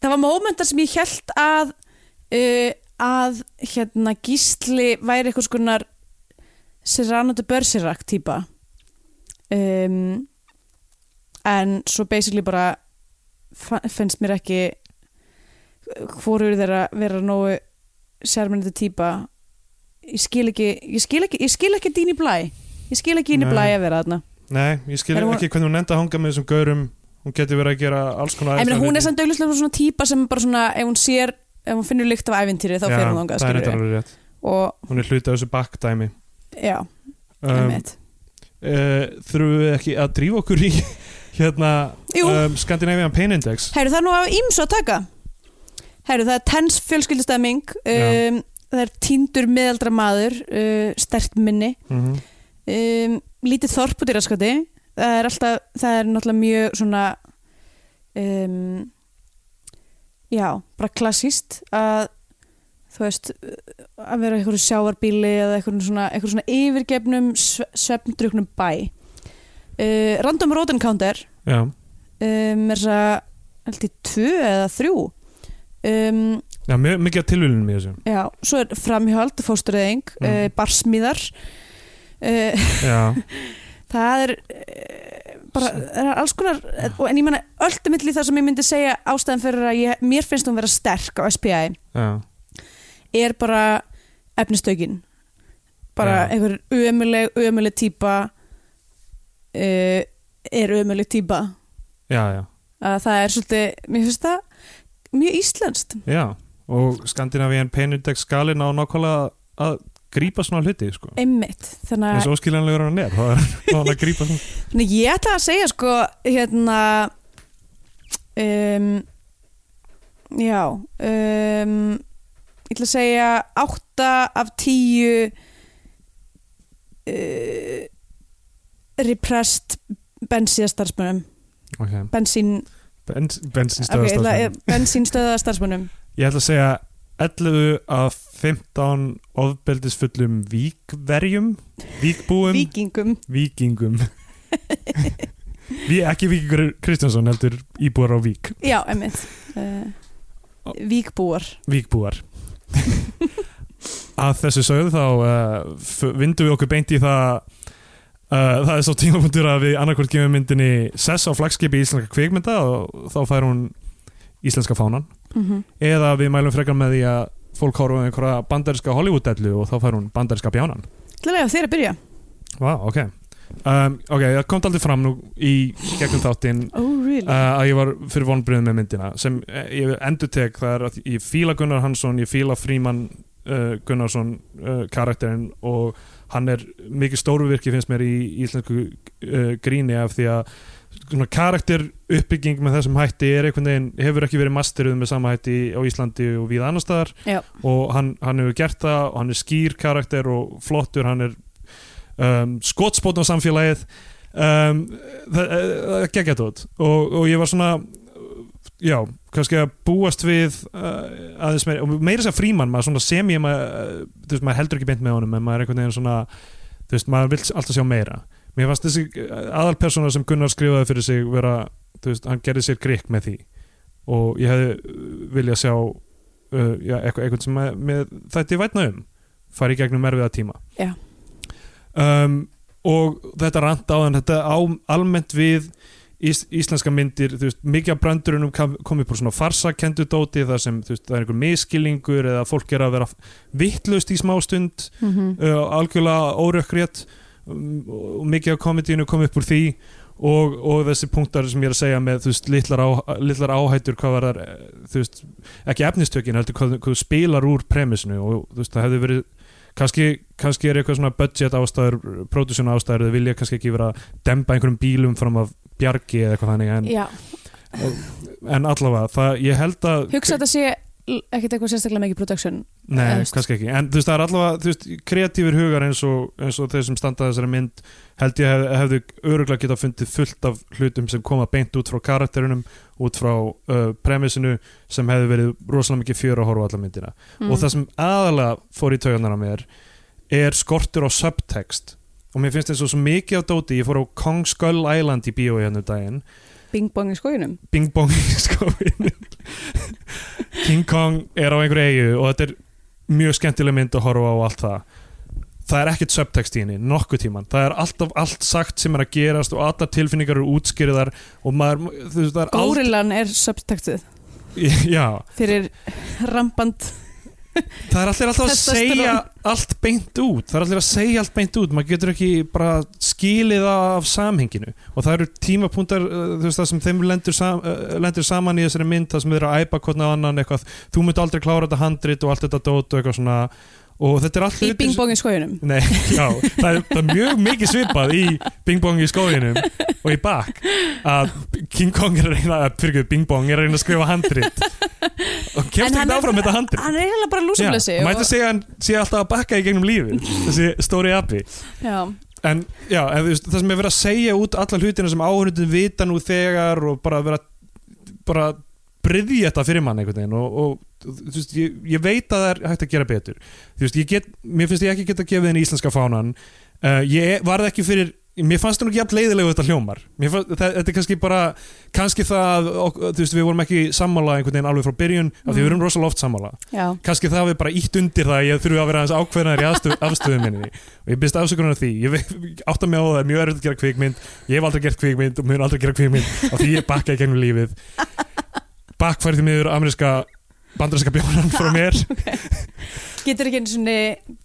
það var mómentar sem ég held að uh, að hérna gísli væri eitthvað skonar Serrano de Bergerac típa um, en svo basically bara fa- finnst mér ekki hvorur þeirra vera nógu sérmyndi típa ég skil ekki ég skil ekki, ég skil ekki Dini Blæ ég skil ekki Dini
Nei.
Blæ að vera þarna
Nei, ég skil
Er hún-
ekki hvernig hún enda að hanga með þessum gaurum Hún getur verið að gera alls konar
en
ævistarf
hún er
hluti.
samt auðvitað svona típa sem bara svona ef hún sér, ef hún finnur lykt af ævintýri þá
Já,
fer hún þangað
Það er
skilur
eitthvað alveg rétt
og
Hún er hluti af þessu bakkdæmi
já,
um,
einmitt
uh, Þurfum við ekki að drífa okkur í Hérna
Jú.
um, Scandinavian Pain Index
Herru, það er nú af ímsu að taka Herru, það er tens fjölskyldustemming um, Það er týndur meðaldra maður uh, Stert minni
mm -hmm.
um, Lítið þorp út í raskati Það er alltaf, það er náttúrulega mjög svona um, Já, bara klassíst að þú veist að vera í einhverju sjávarbíli eða einhverjum svona, einhverjum svona yfirgefnum svefndruknum bæ uh, Random Road Encounter
Já,
um, er það held ég tvö eða þrjú um,
Já mjög, mikið að tilvílunum í þessu
já, svo er framhjöld fóstureyðing,
Mhm.
mm. uh, barsmíðar uh,
Já,
það er uh, bara, það er alls konar eh, og- en ég menna, öllumilli það sem ég myndi segja ástæðan fyrir að ég, mér finnst hún vera sterk á SPI,
já,
er bara efnistökin bara
Já.
einhver ömuleg, ömuleg típa uh, er ömuleg típa
já, já,
að það er svolítið, mér finnst það mjög íslenskt
já. Og Scandinavian Pain Index skalinn á nákvæmlega að grípa svona hluti sko.
Einmitt,
eins
þannig
og óskiljanlegur hann er þá er þá er hann að grípa svona
að ég ætla að segja sko hérna um, já um, ég ætla að segja 8 af 10 uh, repressed bensíðastarsmunum
okay.
bensín,
Bens,
ok, ég ætla,
bensinstöðastarfsmenn
bensínstöðastarsmunum
ég ætla að segja 11 af 15 ofbeldisfullum víkverjum víkbúum,
vikingum
víkingum Ví, ekki víkingur Kristjánsson heldur íbúar á vík
já, einmitt uh, víkbúar
víkbúar að þessu sögðu þá uh, vindum við okkur beint í það uh, það er svo tímapunktur að við annarkvort gefum myndinni sess á flagskipi íslenska kvikmynda og þá fær hún íslenska fánan
mm
eða við mælum frekar með því að fólk horfa á einhverja bandarinska Hollywood-dellu og þá fær hún bandarinska bjánan
ætla að lega þér að byrja
Vá, ok um, Ok, það kom aldrei fram nú í gegnum þáttinn
oh, really?
uh, að ég var fyrir vonbröðum með myndina sem eh, ég endur tek það er að ég fíla Gunnar Hansson, ég fíla Fríman uh, Gunnarsson uh, karakterinn og hann er mikið stóruvirki finnst mér í íslensku uh, gríni af því að svona, karakter uppbygging með þessum hætti er einhvern veginn, hefur ekki verið masteruð með sama hætti á Íslandi og við annar staðar
Já.
og hann, hann hefur gert það og hann er skýr karakter og flottur hann er um, skotspótn á samfélagið um, það uh, geggja tótt og, og ég var svona uh, já, kannski að búast við uh, aðeins meira, og meira þess að fríman maður svona sem ég maður, uh, þú veist, maður heldur ekki beint með honum en maður er einhvern veginn svona þú veist, maður vil alltaf sjá meira mér fannst þessi aðalpersona sem Gunnar skrifaði fyrir sig vera, þú veist, hann gerði sér grikk með því og ég hefði uh, viljað sjá uh, já, eitthvað, eitthvað sem maður, með, þetta ég vætna um fari í gegnum erfiða tíma
Já.
um, og þetta rant á hann, þetta á almennt við ís, íslenska myndir þú veist, mikið af brandurunum kam- kom upp úr svona farsakendu dóti þar sem þú veist, það er einhver miskilningur eða fólk er að vera vittlust í smástund
mm
uh, algjörlega órökkrétt um, og mikið af komedíinu kom upp úr því og, og þessi punktar sem ég er að segja með þú veist, litlar, á, litlar áhættur hvað var þar, þú veist, ekki efnistökin heldur hvað, hvað þú spilar úr premissinu og þú veist, það hefði verið kannski, kannski er eitthvað svona budget ástæður pródusjónu ástæður, þau vilja kannski ekki vera að dempa einhverjum bílum fram af bjargi eða eitthvað þannig, en,
já
en allavega það, ég held að
hugsa að þetta sé l- ekkert eitthvað sérstaklega mikið production Eða,
Nei,
þú veist.
kannski ekki, en þú veist það er allavega þú veist, kreatífur hugar eins og, eins og þeir sem standa að þessari mynd held ég hef, hefðu öruglega geta fundið fullt af hlutum sem koma beint út frá karakterunum út frá uh, premissinu sem hefðu verið rosalega mikið fjör að horfa á alla myndina
Mm.
og það sem aðalega fór í taugarnar á mér er skortur á subtext og mér finnst eins og svo mikið af dóti ég fór á Kong Skull Island í bíói hennu daginn
bing bong í skójunum
Bing Bong í skóin King Kong er á einhverju eigu og þetta er mjög skemmtileg mynd að horfa á og allt það það er ekkert subtext í henni, nokkuð tíman það er alltaf allt sagt sem er að gerast og allar tilfinningar eru útskýrðar og maður, þú veist, það er
górillan er subtaktið
aldrei Já,
fyrir ramband
það er allir alltaf að
Testosterón.
segja allt beint út það er allir að segja allt beint út maður getur ekki bara skilið það af samhenginu og það eru tímapunktar uh, þú veist það sem þeim lendur, sam, uh, lendur saman í þessari mynd það sem þeir eru að æpa hvernig annan eitthvað þú myndi aldrei klára þetta handrit og allt þetta dót og eitthvað svona og þetta er allt
í
hlutir sem-
bingbóngin skoðunum
Nei, já, það er, það er mjög mikið svipað í Bing Bong í skóginum og í bak að King Kong er að reyna að fyrir Bing Bong er að reyna að skrifa handrit og kemst
En hann er-
ekki áfram með þetta handrit
hann er eiginlega bara lúsamlösi
Já, mætti segja hann sé alltaf að bakka í gegnum lífi þessi stóri api
já,
en já, en, þú veist, það sem er verið að segja út alla hlutina sem áhörnundin vita nú þegar og bara vera bara bryðja þetta fyrir mann einhvern veginn og, og þú veist, ég, ég veit að það er hægt að gera betur þú veist, ég get, mér finnst ég ekki geta að gefa þenni íslenska fánan uh, ég varð ekki fyrir Mér fannst hún ekki jafn leiðilegu þetta hljómar Mér fannst, það, Þetta er kannski bara kannski það, að ok, þú veist, við vorum ekki sammála einhvern veginn alveg frá byrjun, af því við erum rosalega oft sammála
já,
kannski það við bara ítt undir það að ég þurfi að vera aðeins ákveðnar í afstöðu, afstöðu minni og ég byrst afsökunar á því ég ve- átta mig á það, er mjög erfitt að gera kvikmynd ég hef aldrei gert kvikmynd og mun aldrei gera kvikmynd og því ég bakka í gegnum lífið bakkfærið miður ameríska bandarinska bjónan frá mér
getur ekki einu svona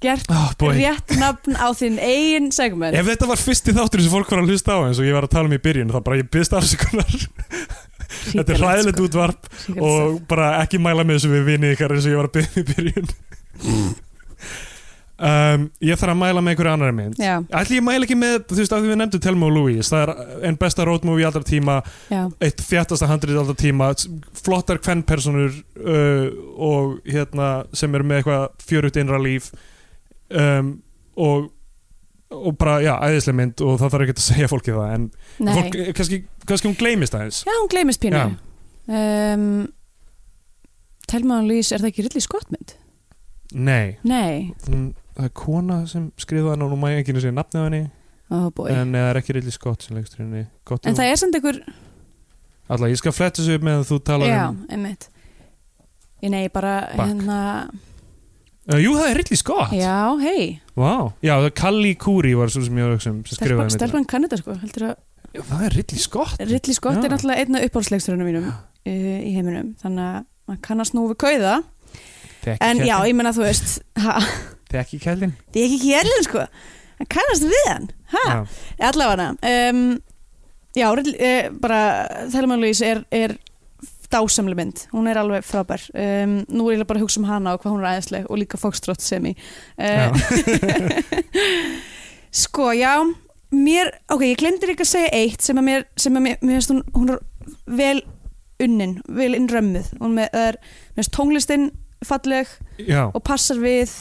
gert
oh, boy.
rétt nafn á þinn eigin segment
ef þetta var fyrsti þáttur sem fólk var að hlusta á eins og ég var að tala um í byrjun þá bara ég byrst afsökunar þetta
sko.
er hræðilegt útvarp og bara ekki mæla með þessu við vinið ykkar eins og ég var að byrja í byrjun um, ég þarf að mæla með einhverju annari mynd
já,
Ætli ég mæla ekki með, þú veist, af því við nefndum Telma og Louise, það er einn besta road movie allra tíma,
já,
eitt þjættasta handrið allra tíma, flottar kvennpersonur uh, og hérna sem eru með eitthvað fjörugt innra líf um, og og bara, já, æðislega mynd og það þarf ekki að segja fólki það en
nei
fólk, eh, kannski, kannski hún gleymist aðeins
já, hún gleymist pínu
Já.
um, Telma og Lís, er það ekki rilli skottmynd?
Nei,
nei,
hún, það er kona sem skrifaði hann og nú mæja ekki einu sinni nafnið á henni
oh boy
en eh, það er ekki reyli skott sem leikstur henni
en það er samt einhver
Alla, ég skal fletta þessu upp meðan þú talar
já,
um
einmitt ég nei, bara
Bak.
hérna
uh, Jú, það er reyli skott
já, hei,
Vá, já, það er Kalli Kúri var svo sem ég var að hugsa um sem skrifaði myndina.
stelpan kannu þetta sko heldur að
Já, Það er Ridley Scott
Ridley Scott
Já.
er náttúrulega einn af uppáhaldsleiksturinnum mínum uh, í heiminum þannig að maður kannast nú við kauða en já, ég menna þú veist ha,
Þekki kællin
því ekki kjærlinn sko hann kannast við hann ha,
Já,
allavega um, já, Ridley, uh, bara Thelma Louise er, er dásamli mynd, hún er alveg frábær um, nú er ég bara að hugsa um hana og hvað hún er aðeinsleg og líka Foxtrot Eh, sem í
já.
Sko, já, mér, ok, ég glemdi líka að segja eitt sem að mér, sem að mér, mér finnst hún, hún er vel unnin, vel innrömmuð, hún með, það er, mér finnst tónlistin falleg
já.
og passar við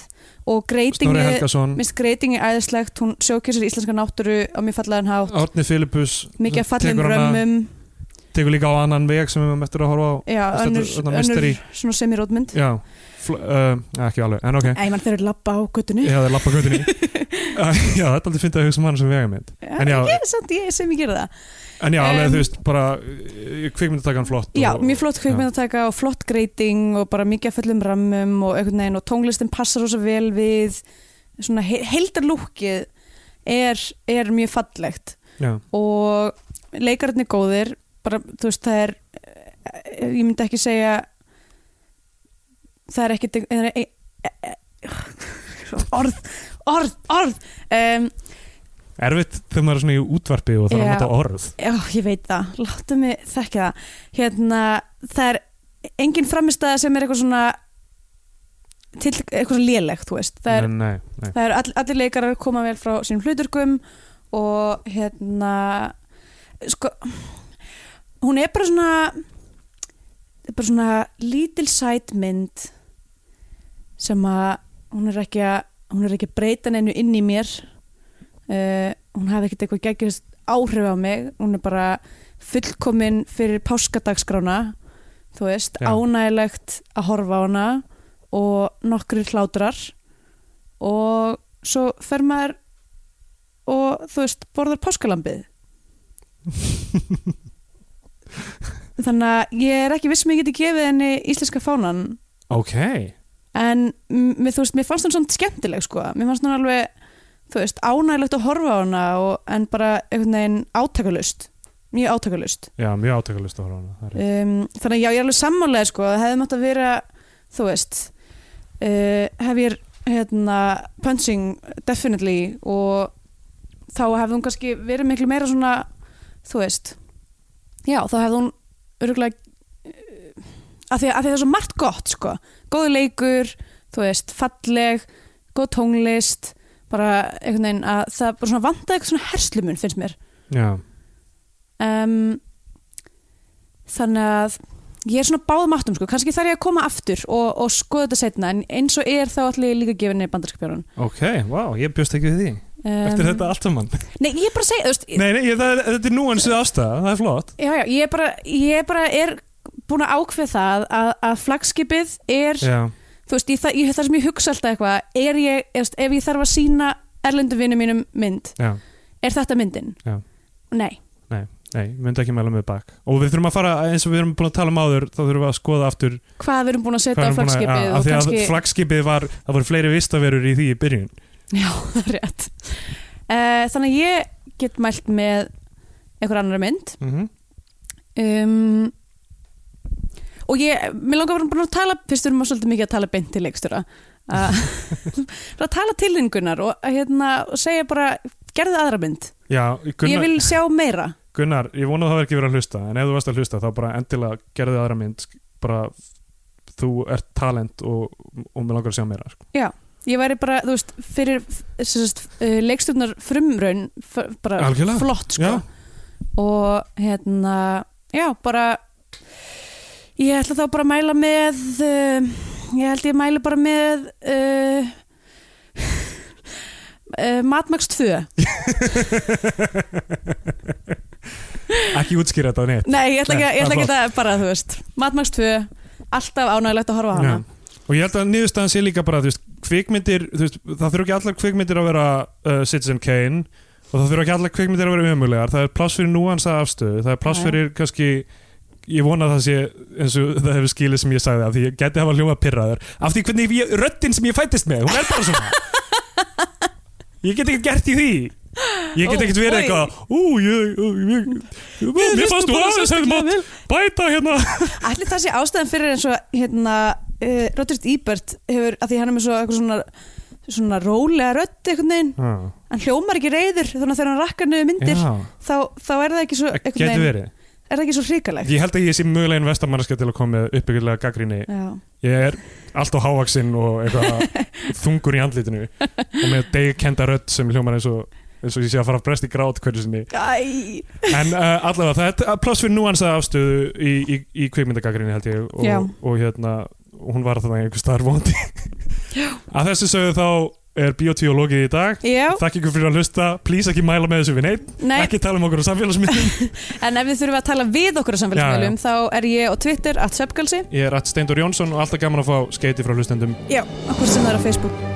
og greitingi,
Snorri
mér
Helgason
finnst greitingi æðislegt, hún sjókjæsir íslenska náttúru á mjög fallegan hátt,
Árni Filipus
mikið af fallegum
tekur hana-
römmum,
Tekur líka á annan veg sem við erum eftir að horfa á
já,
Þetta-
önnur,
þetta
önnur,
mystery.
svona semirótmynd.
Já, fl- uh, ekki alveg, en ok
Æ, mann þeir eru labba á göttunni.
Já, það er lappa gautinni Eh, Já, það er aldrei fyndið að hugsa um hann sem vega mynd en já-
ég, samt, ég, sem ég gera það.
En já, alveg
Um,
þú veist, bara eh, kvikmyndatakan flott
Já,
og-
mjög flott kvikmyndataka og flott greiting og bara mikið af fullum rammum og einhvern veginn og tónlistin passar rosa vel við svona he heldarlúkið er, er mjög fallegt
Já,
og leikararnir góðir bara, þú veist, það er eh, ég myndi ekki segja það er ekkit það er, e, e, e, orð, orð, orð um,
erfitt þegar maður er svona í útvarpi og það er að
Já.
nota orð
Já, ég veit það, láttu mig þekka það Hérna, það er engin framistæða sem er eitthvað svona til eitthvað svona lélegt, þú veist Það er,
Nei, nei, nei.
það er all, allir leikarar koma vel frá sínum hluturkum og hérna sko hún er bara svona bara svona lítil sætmynd sem að hún er ekki að hún er ekki að breyta neinu inn í mér uh, hún hafi ekkert eitthvað geggjast áhrif á mig hún er bara fullkomin fyrir páskadagskrána þú veist,
Já.
ánægilegt að horfa á hana og nokkri hlátrar og svo fer maður og þú veist, borðar páskalambið þannig að ég er ekki viss sem ég geti gefið henni íslenska fánan
Ok,
en m- mér, þú veist, mér fannst hún svona skemmtileg sko, mér fannst hún alveg þú veist, ánægilegt að horfa á hana og, en bara einhvern veginn átakalust mjög átökulust
já, mjög átökulist að horfa á hana það er rétt.
um, þannig að já, ég er alveg sammálega sko, að hefði mátt að vera þú veist uh, hef ég hérna, punching definitely og þá hefði hún kannski verið miklu meira svona þú veist já, þá hefði hún örgulega að því að, því að það er svo margt gott sko. góðu leikur, þú veist falleg, góð tónlist bara einhvern veginn að það bara svona vantaði eitthvað svona herslumun finnst mér
já,
um, þannig að ég er svona báðum áttum sko, kannski þarf ég að koma aftur og, og skoða þetta setna en eins og er þá allir líka að gefa henni bandarskapjörun um,
ok, wow, ég bjóst ekki við því eftir þetta allt saman
Nei, ég er bara að segja, þú veist
nei, nei, ég, það, er- þetta er núansið ástæða, það er flott
já, já, ég, er bara, ég er bara er búin að ákveð það að, að flagskipið er,
já,
þú veist, ég, það, ég, það sem ég hugsa alltaf eitthvað, er ég, þú veist, ef ég þarf að sína erlendu vinnu mínum mynd
já,
er þetta myndin?
Já.
Nei,
nei, myndi ekki mæla með bak og við þurfum að fara, eins og við erum búin að tala um áður þá þurfum við að skoða aftur
hvað við erum búin að setja á
erum búin að,
flagskipið
að,
og
að, að
kannski
flagskipið var, það voru fleiri vistaverur í því í byrjun
Já, það er rétt. Uh, þannig að ég get mælt með einhver annar mynd
mm
um, og ég, mér langar bara að tala, fyrst erum við svolítið mikið að tala beint til leikstjóra að bara tala til hengunar og, að hérna, og segja bara, gerðu aðra mynd
já,
ég
Gunnar,
vil sjá meira
Gunnar, ég vona að það var ekki verið að hlusta en ef þú varst að hlusta þá bara endilega gerðu aðra mynd sk- bara þú ert talent og, og mér langar að sjá meira sko.
ég væri bara, þú veist, fyrir uh, leikstjórnar frumraun f- bara
Algjörlega.
flott sko.
já,
og hérna já, bara ég ætla þá bara að mæla með uh, ég held ég mæli bara með uh, uh, Matmax 2
ekki útskýra þetta neitt
nei, ég ætla ekki, að- ég ætla
Nei,
ekki að bara, þú veist Matmax 2, alltaf ánægilegt að horfa á hana
Já. og ég held að niðurstaðan sé líka bara þú veist, kvikmyndir, þú veist, það þurfa ekki allar kvikmyndir að vera uh, Citizen Kane og það þurfa ekki allar kvikmyndir að vera umulegar það er pláss fyrir núansa afstöðu, það er
Já,
pláss
já.
fyrir kannski ég vona að það sé eins og það hefur skilið sem ég sagði af því ég geti hafa hljóma pirraður af því hvernig ég, röddin sem ég fættist með, hún er bara svona ég get ekkert gert í því ég
Ó,
get ekkert verið
oj.
eitthvað ú, ég, ég, ég, ég,
Mér
mér
finnst
fannst
þú
þú
bara
aðeins hefði
sérstaklega
mátt bæta hérna
Ætli það sé ástæðan fyrir eins og hérna, uh, Roderick Ebert hefur, að því hann er með svo eitthvað svona svona rólega rödd einhvern veginn hann hljómar ekki reyður þannig að þegar hann rakkar niður myndir
já,
þá, þá er það ekki svo einhvern
getur
veginn-
verið
er það ekki svo hrikalegt
Ég held að ég sé mögulega einn vestamannskja til að koma með uppbyggilega gaggrinni.
já.
Ég er allt á hávaksinn og eitthvað þungur í andlitinu og með degkenda rödd sem hljómar eins og eins og ég sé að fara að bresta í grát hverju sinni
Æ,
en uh, allavega það er pláss fyrir núansa afstöðu í, í, í kvikmyndagaggrinni held ég og,
Já.
og, hérna og hún var þannig einhver starf vondi að þessu sögðu þá er Bíotvíó lokið í dag
já,
þakk ykkur fyrir að hlusta, please ekki mæla með þessu við neitt,
nei,
ekki tala um okkur á samfélagsmyndum
en ef við þurfum að tala við okkur á samfélagsmiðlum þá er ég á Twitter at Söpgalsi,
ég er Rat Steindur Jónsson og alltaf gaman að fá skeiti frá hlustendum
já, okkur sem það er á Facebook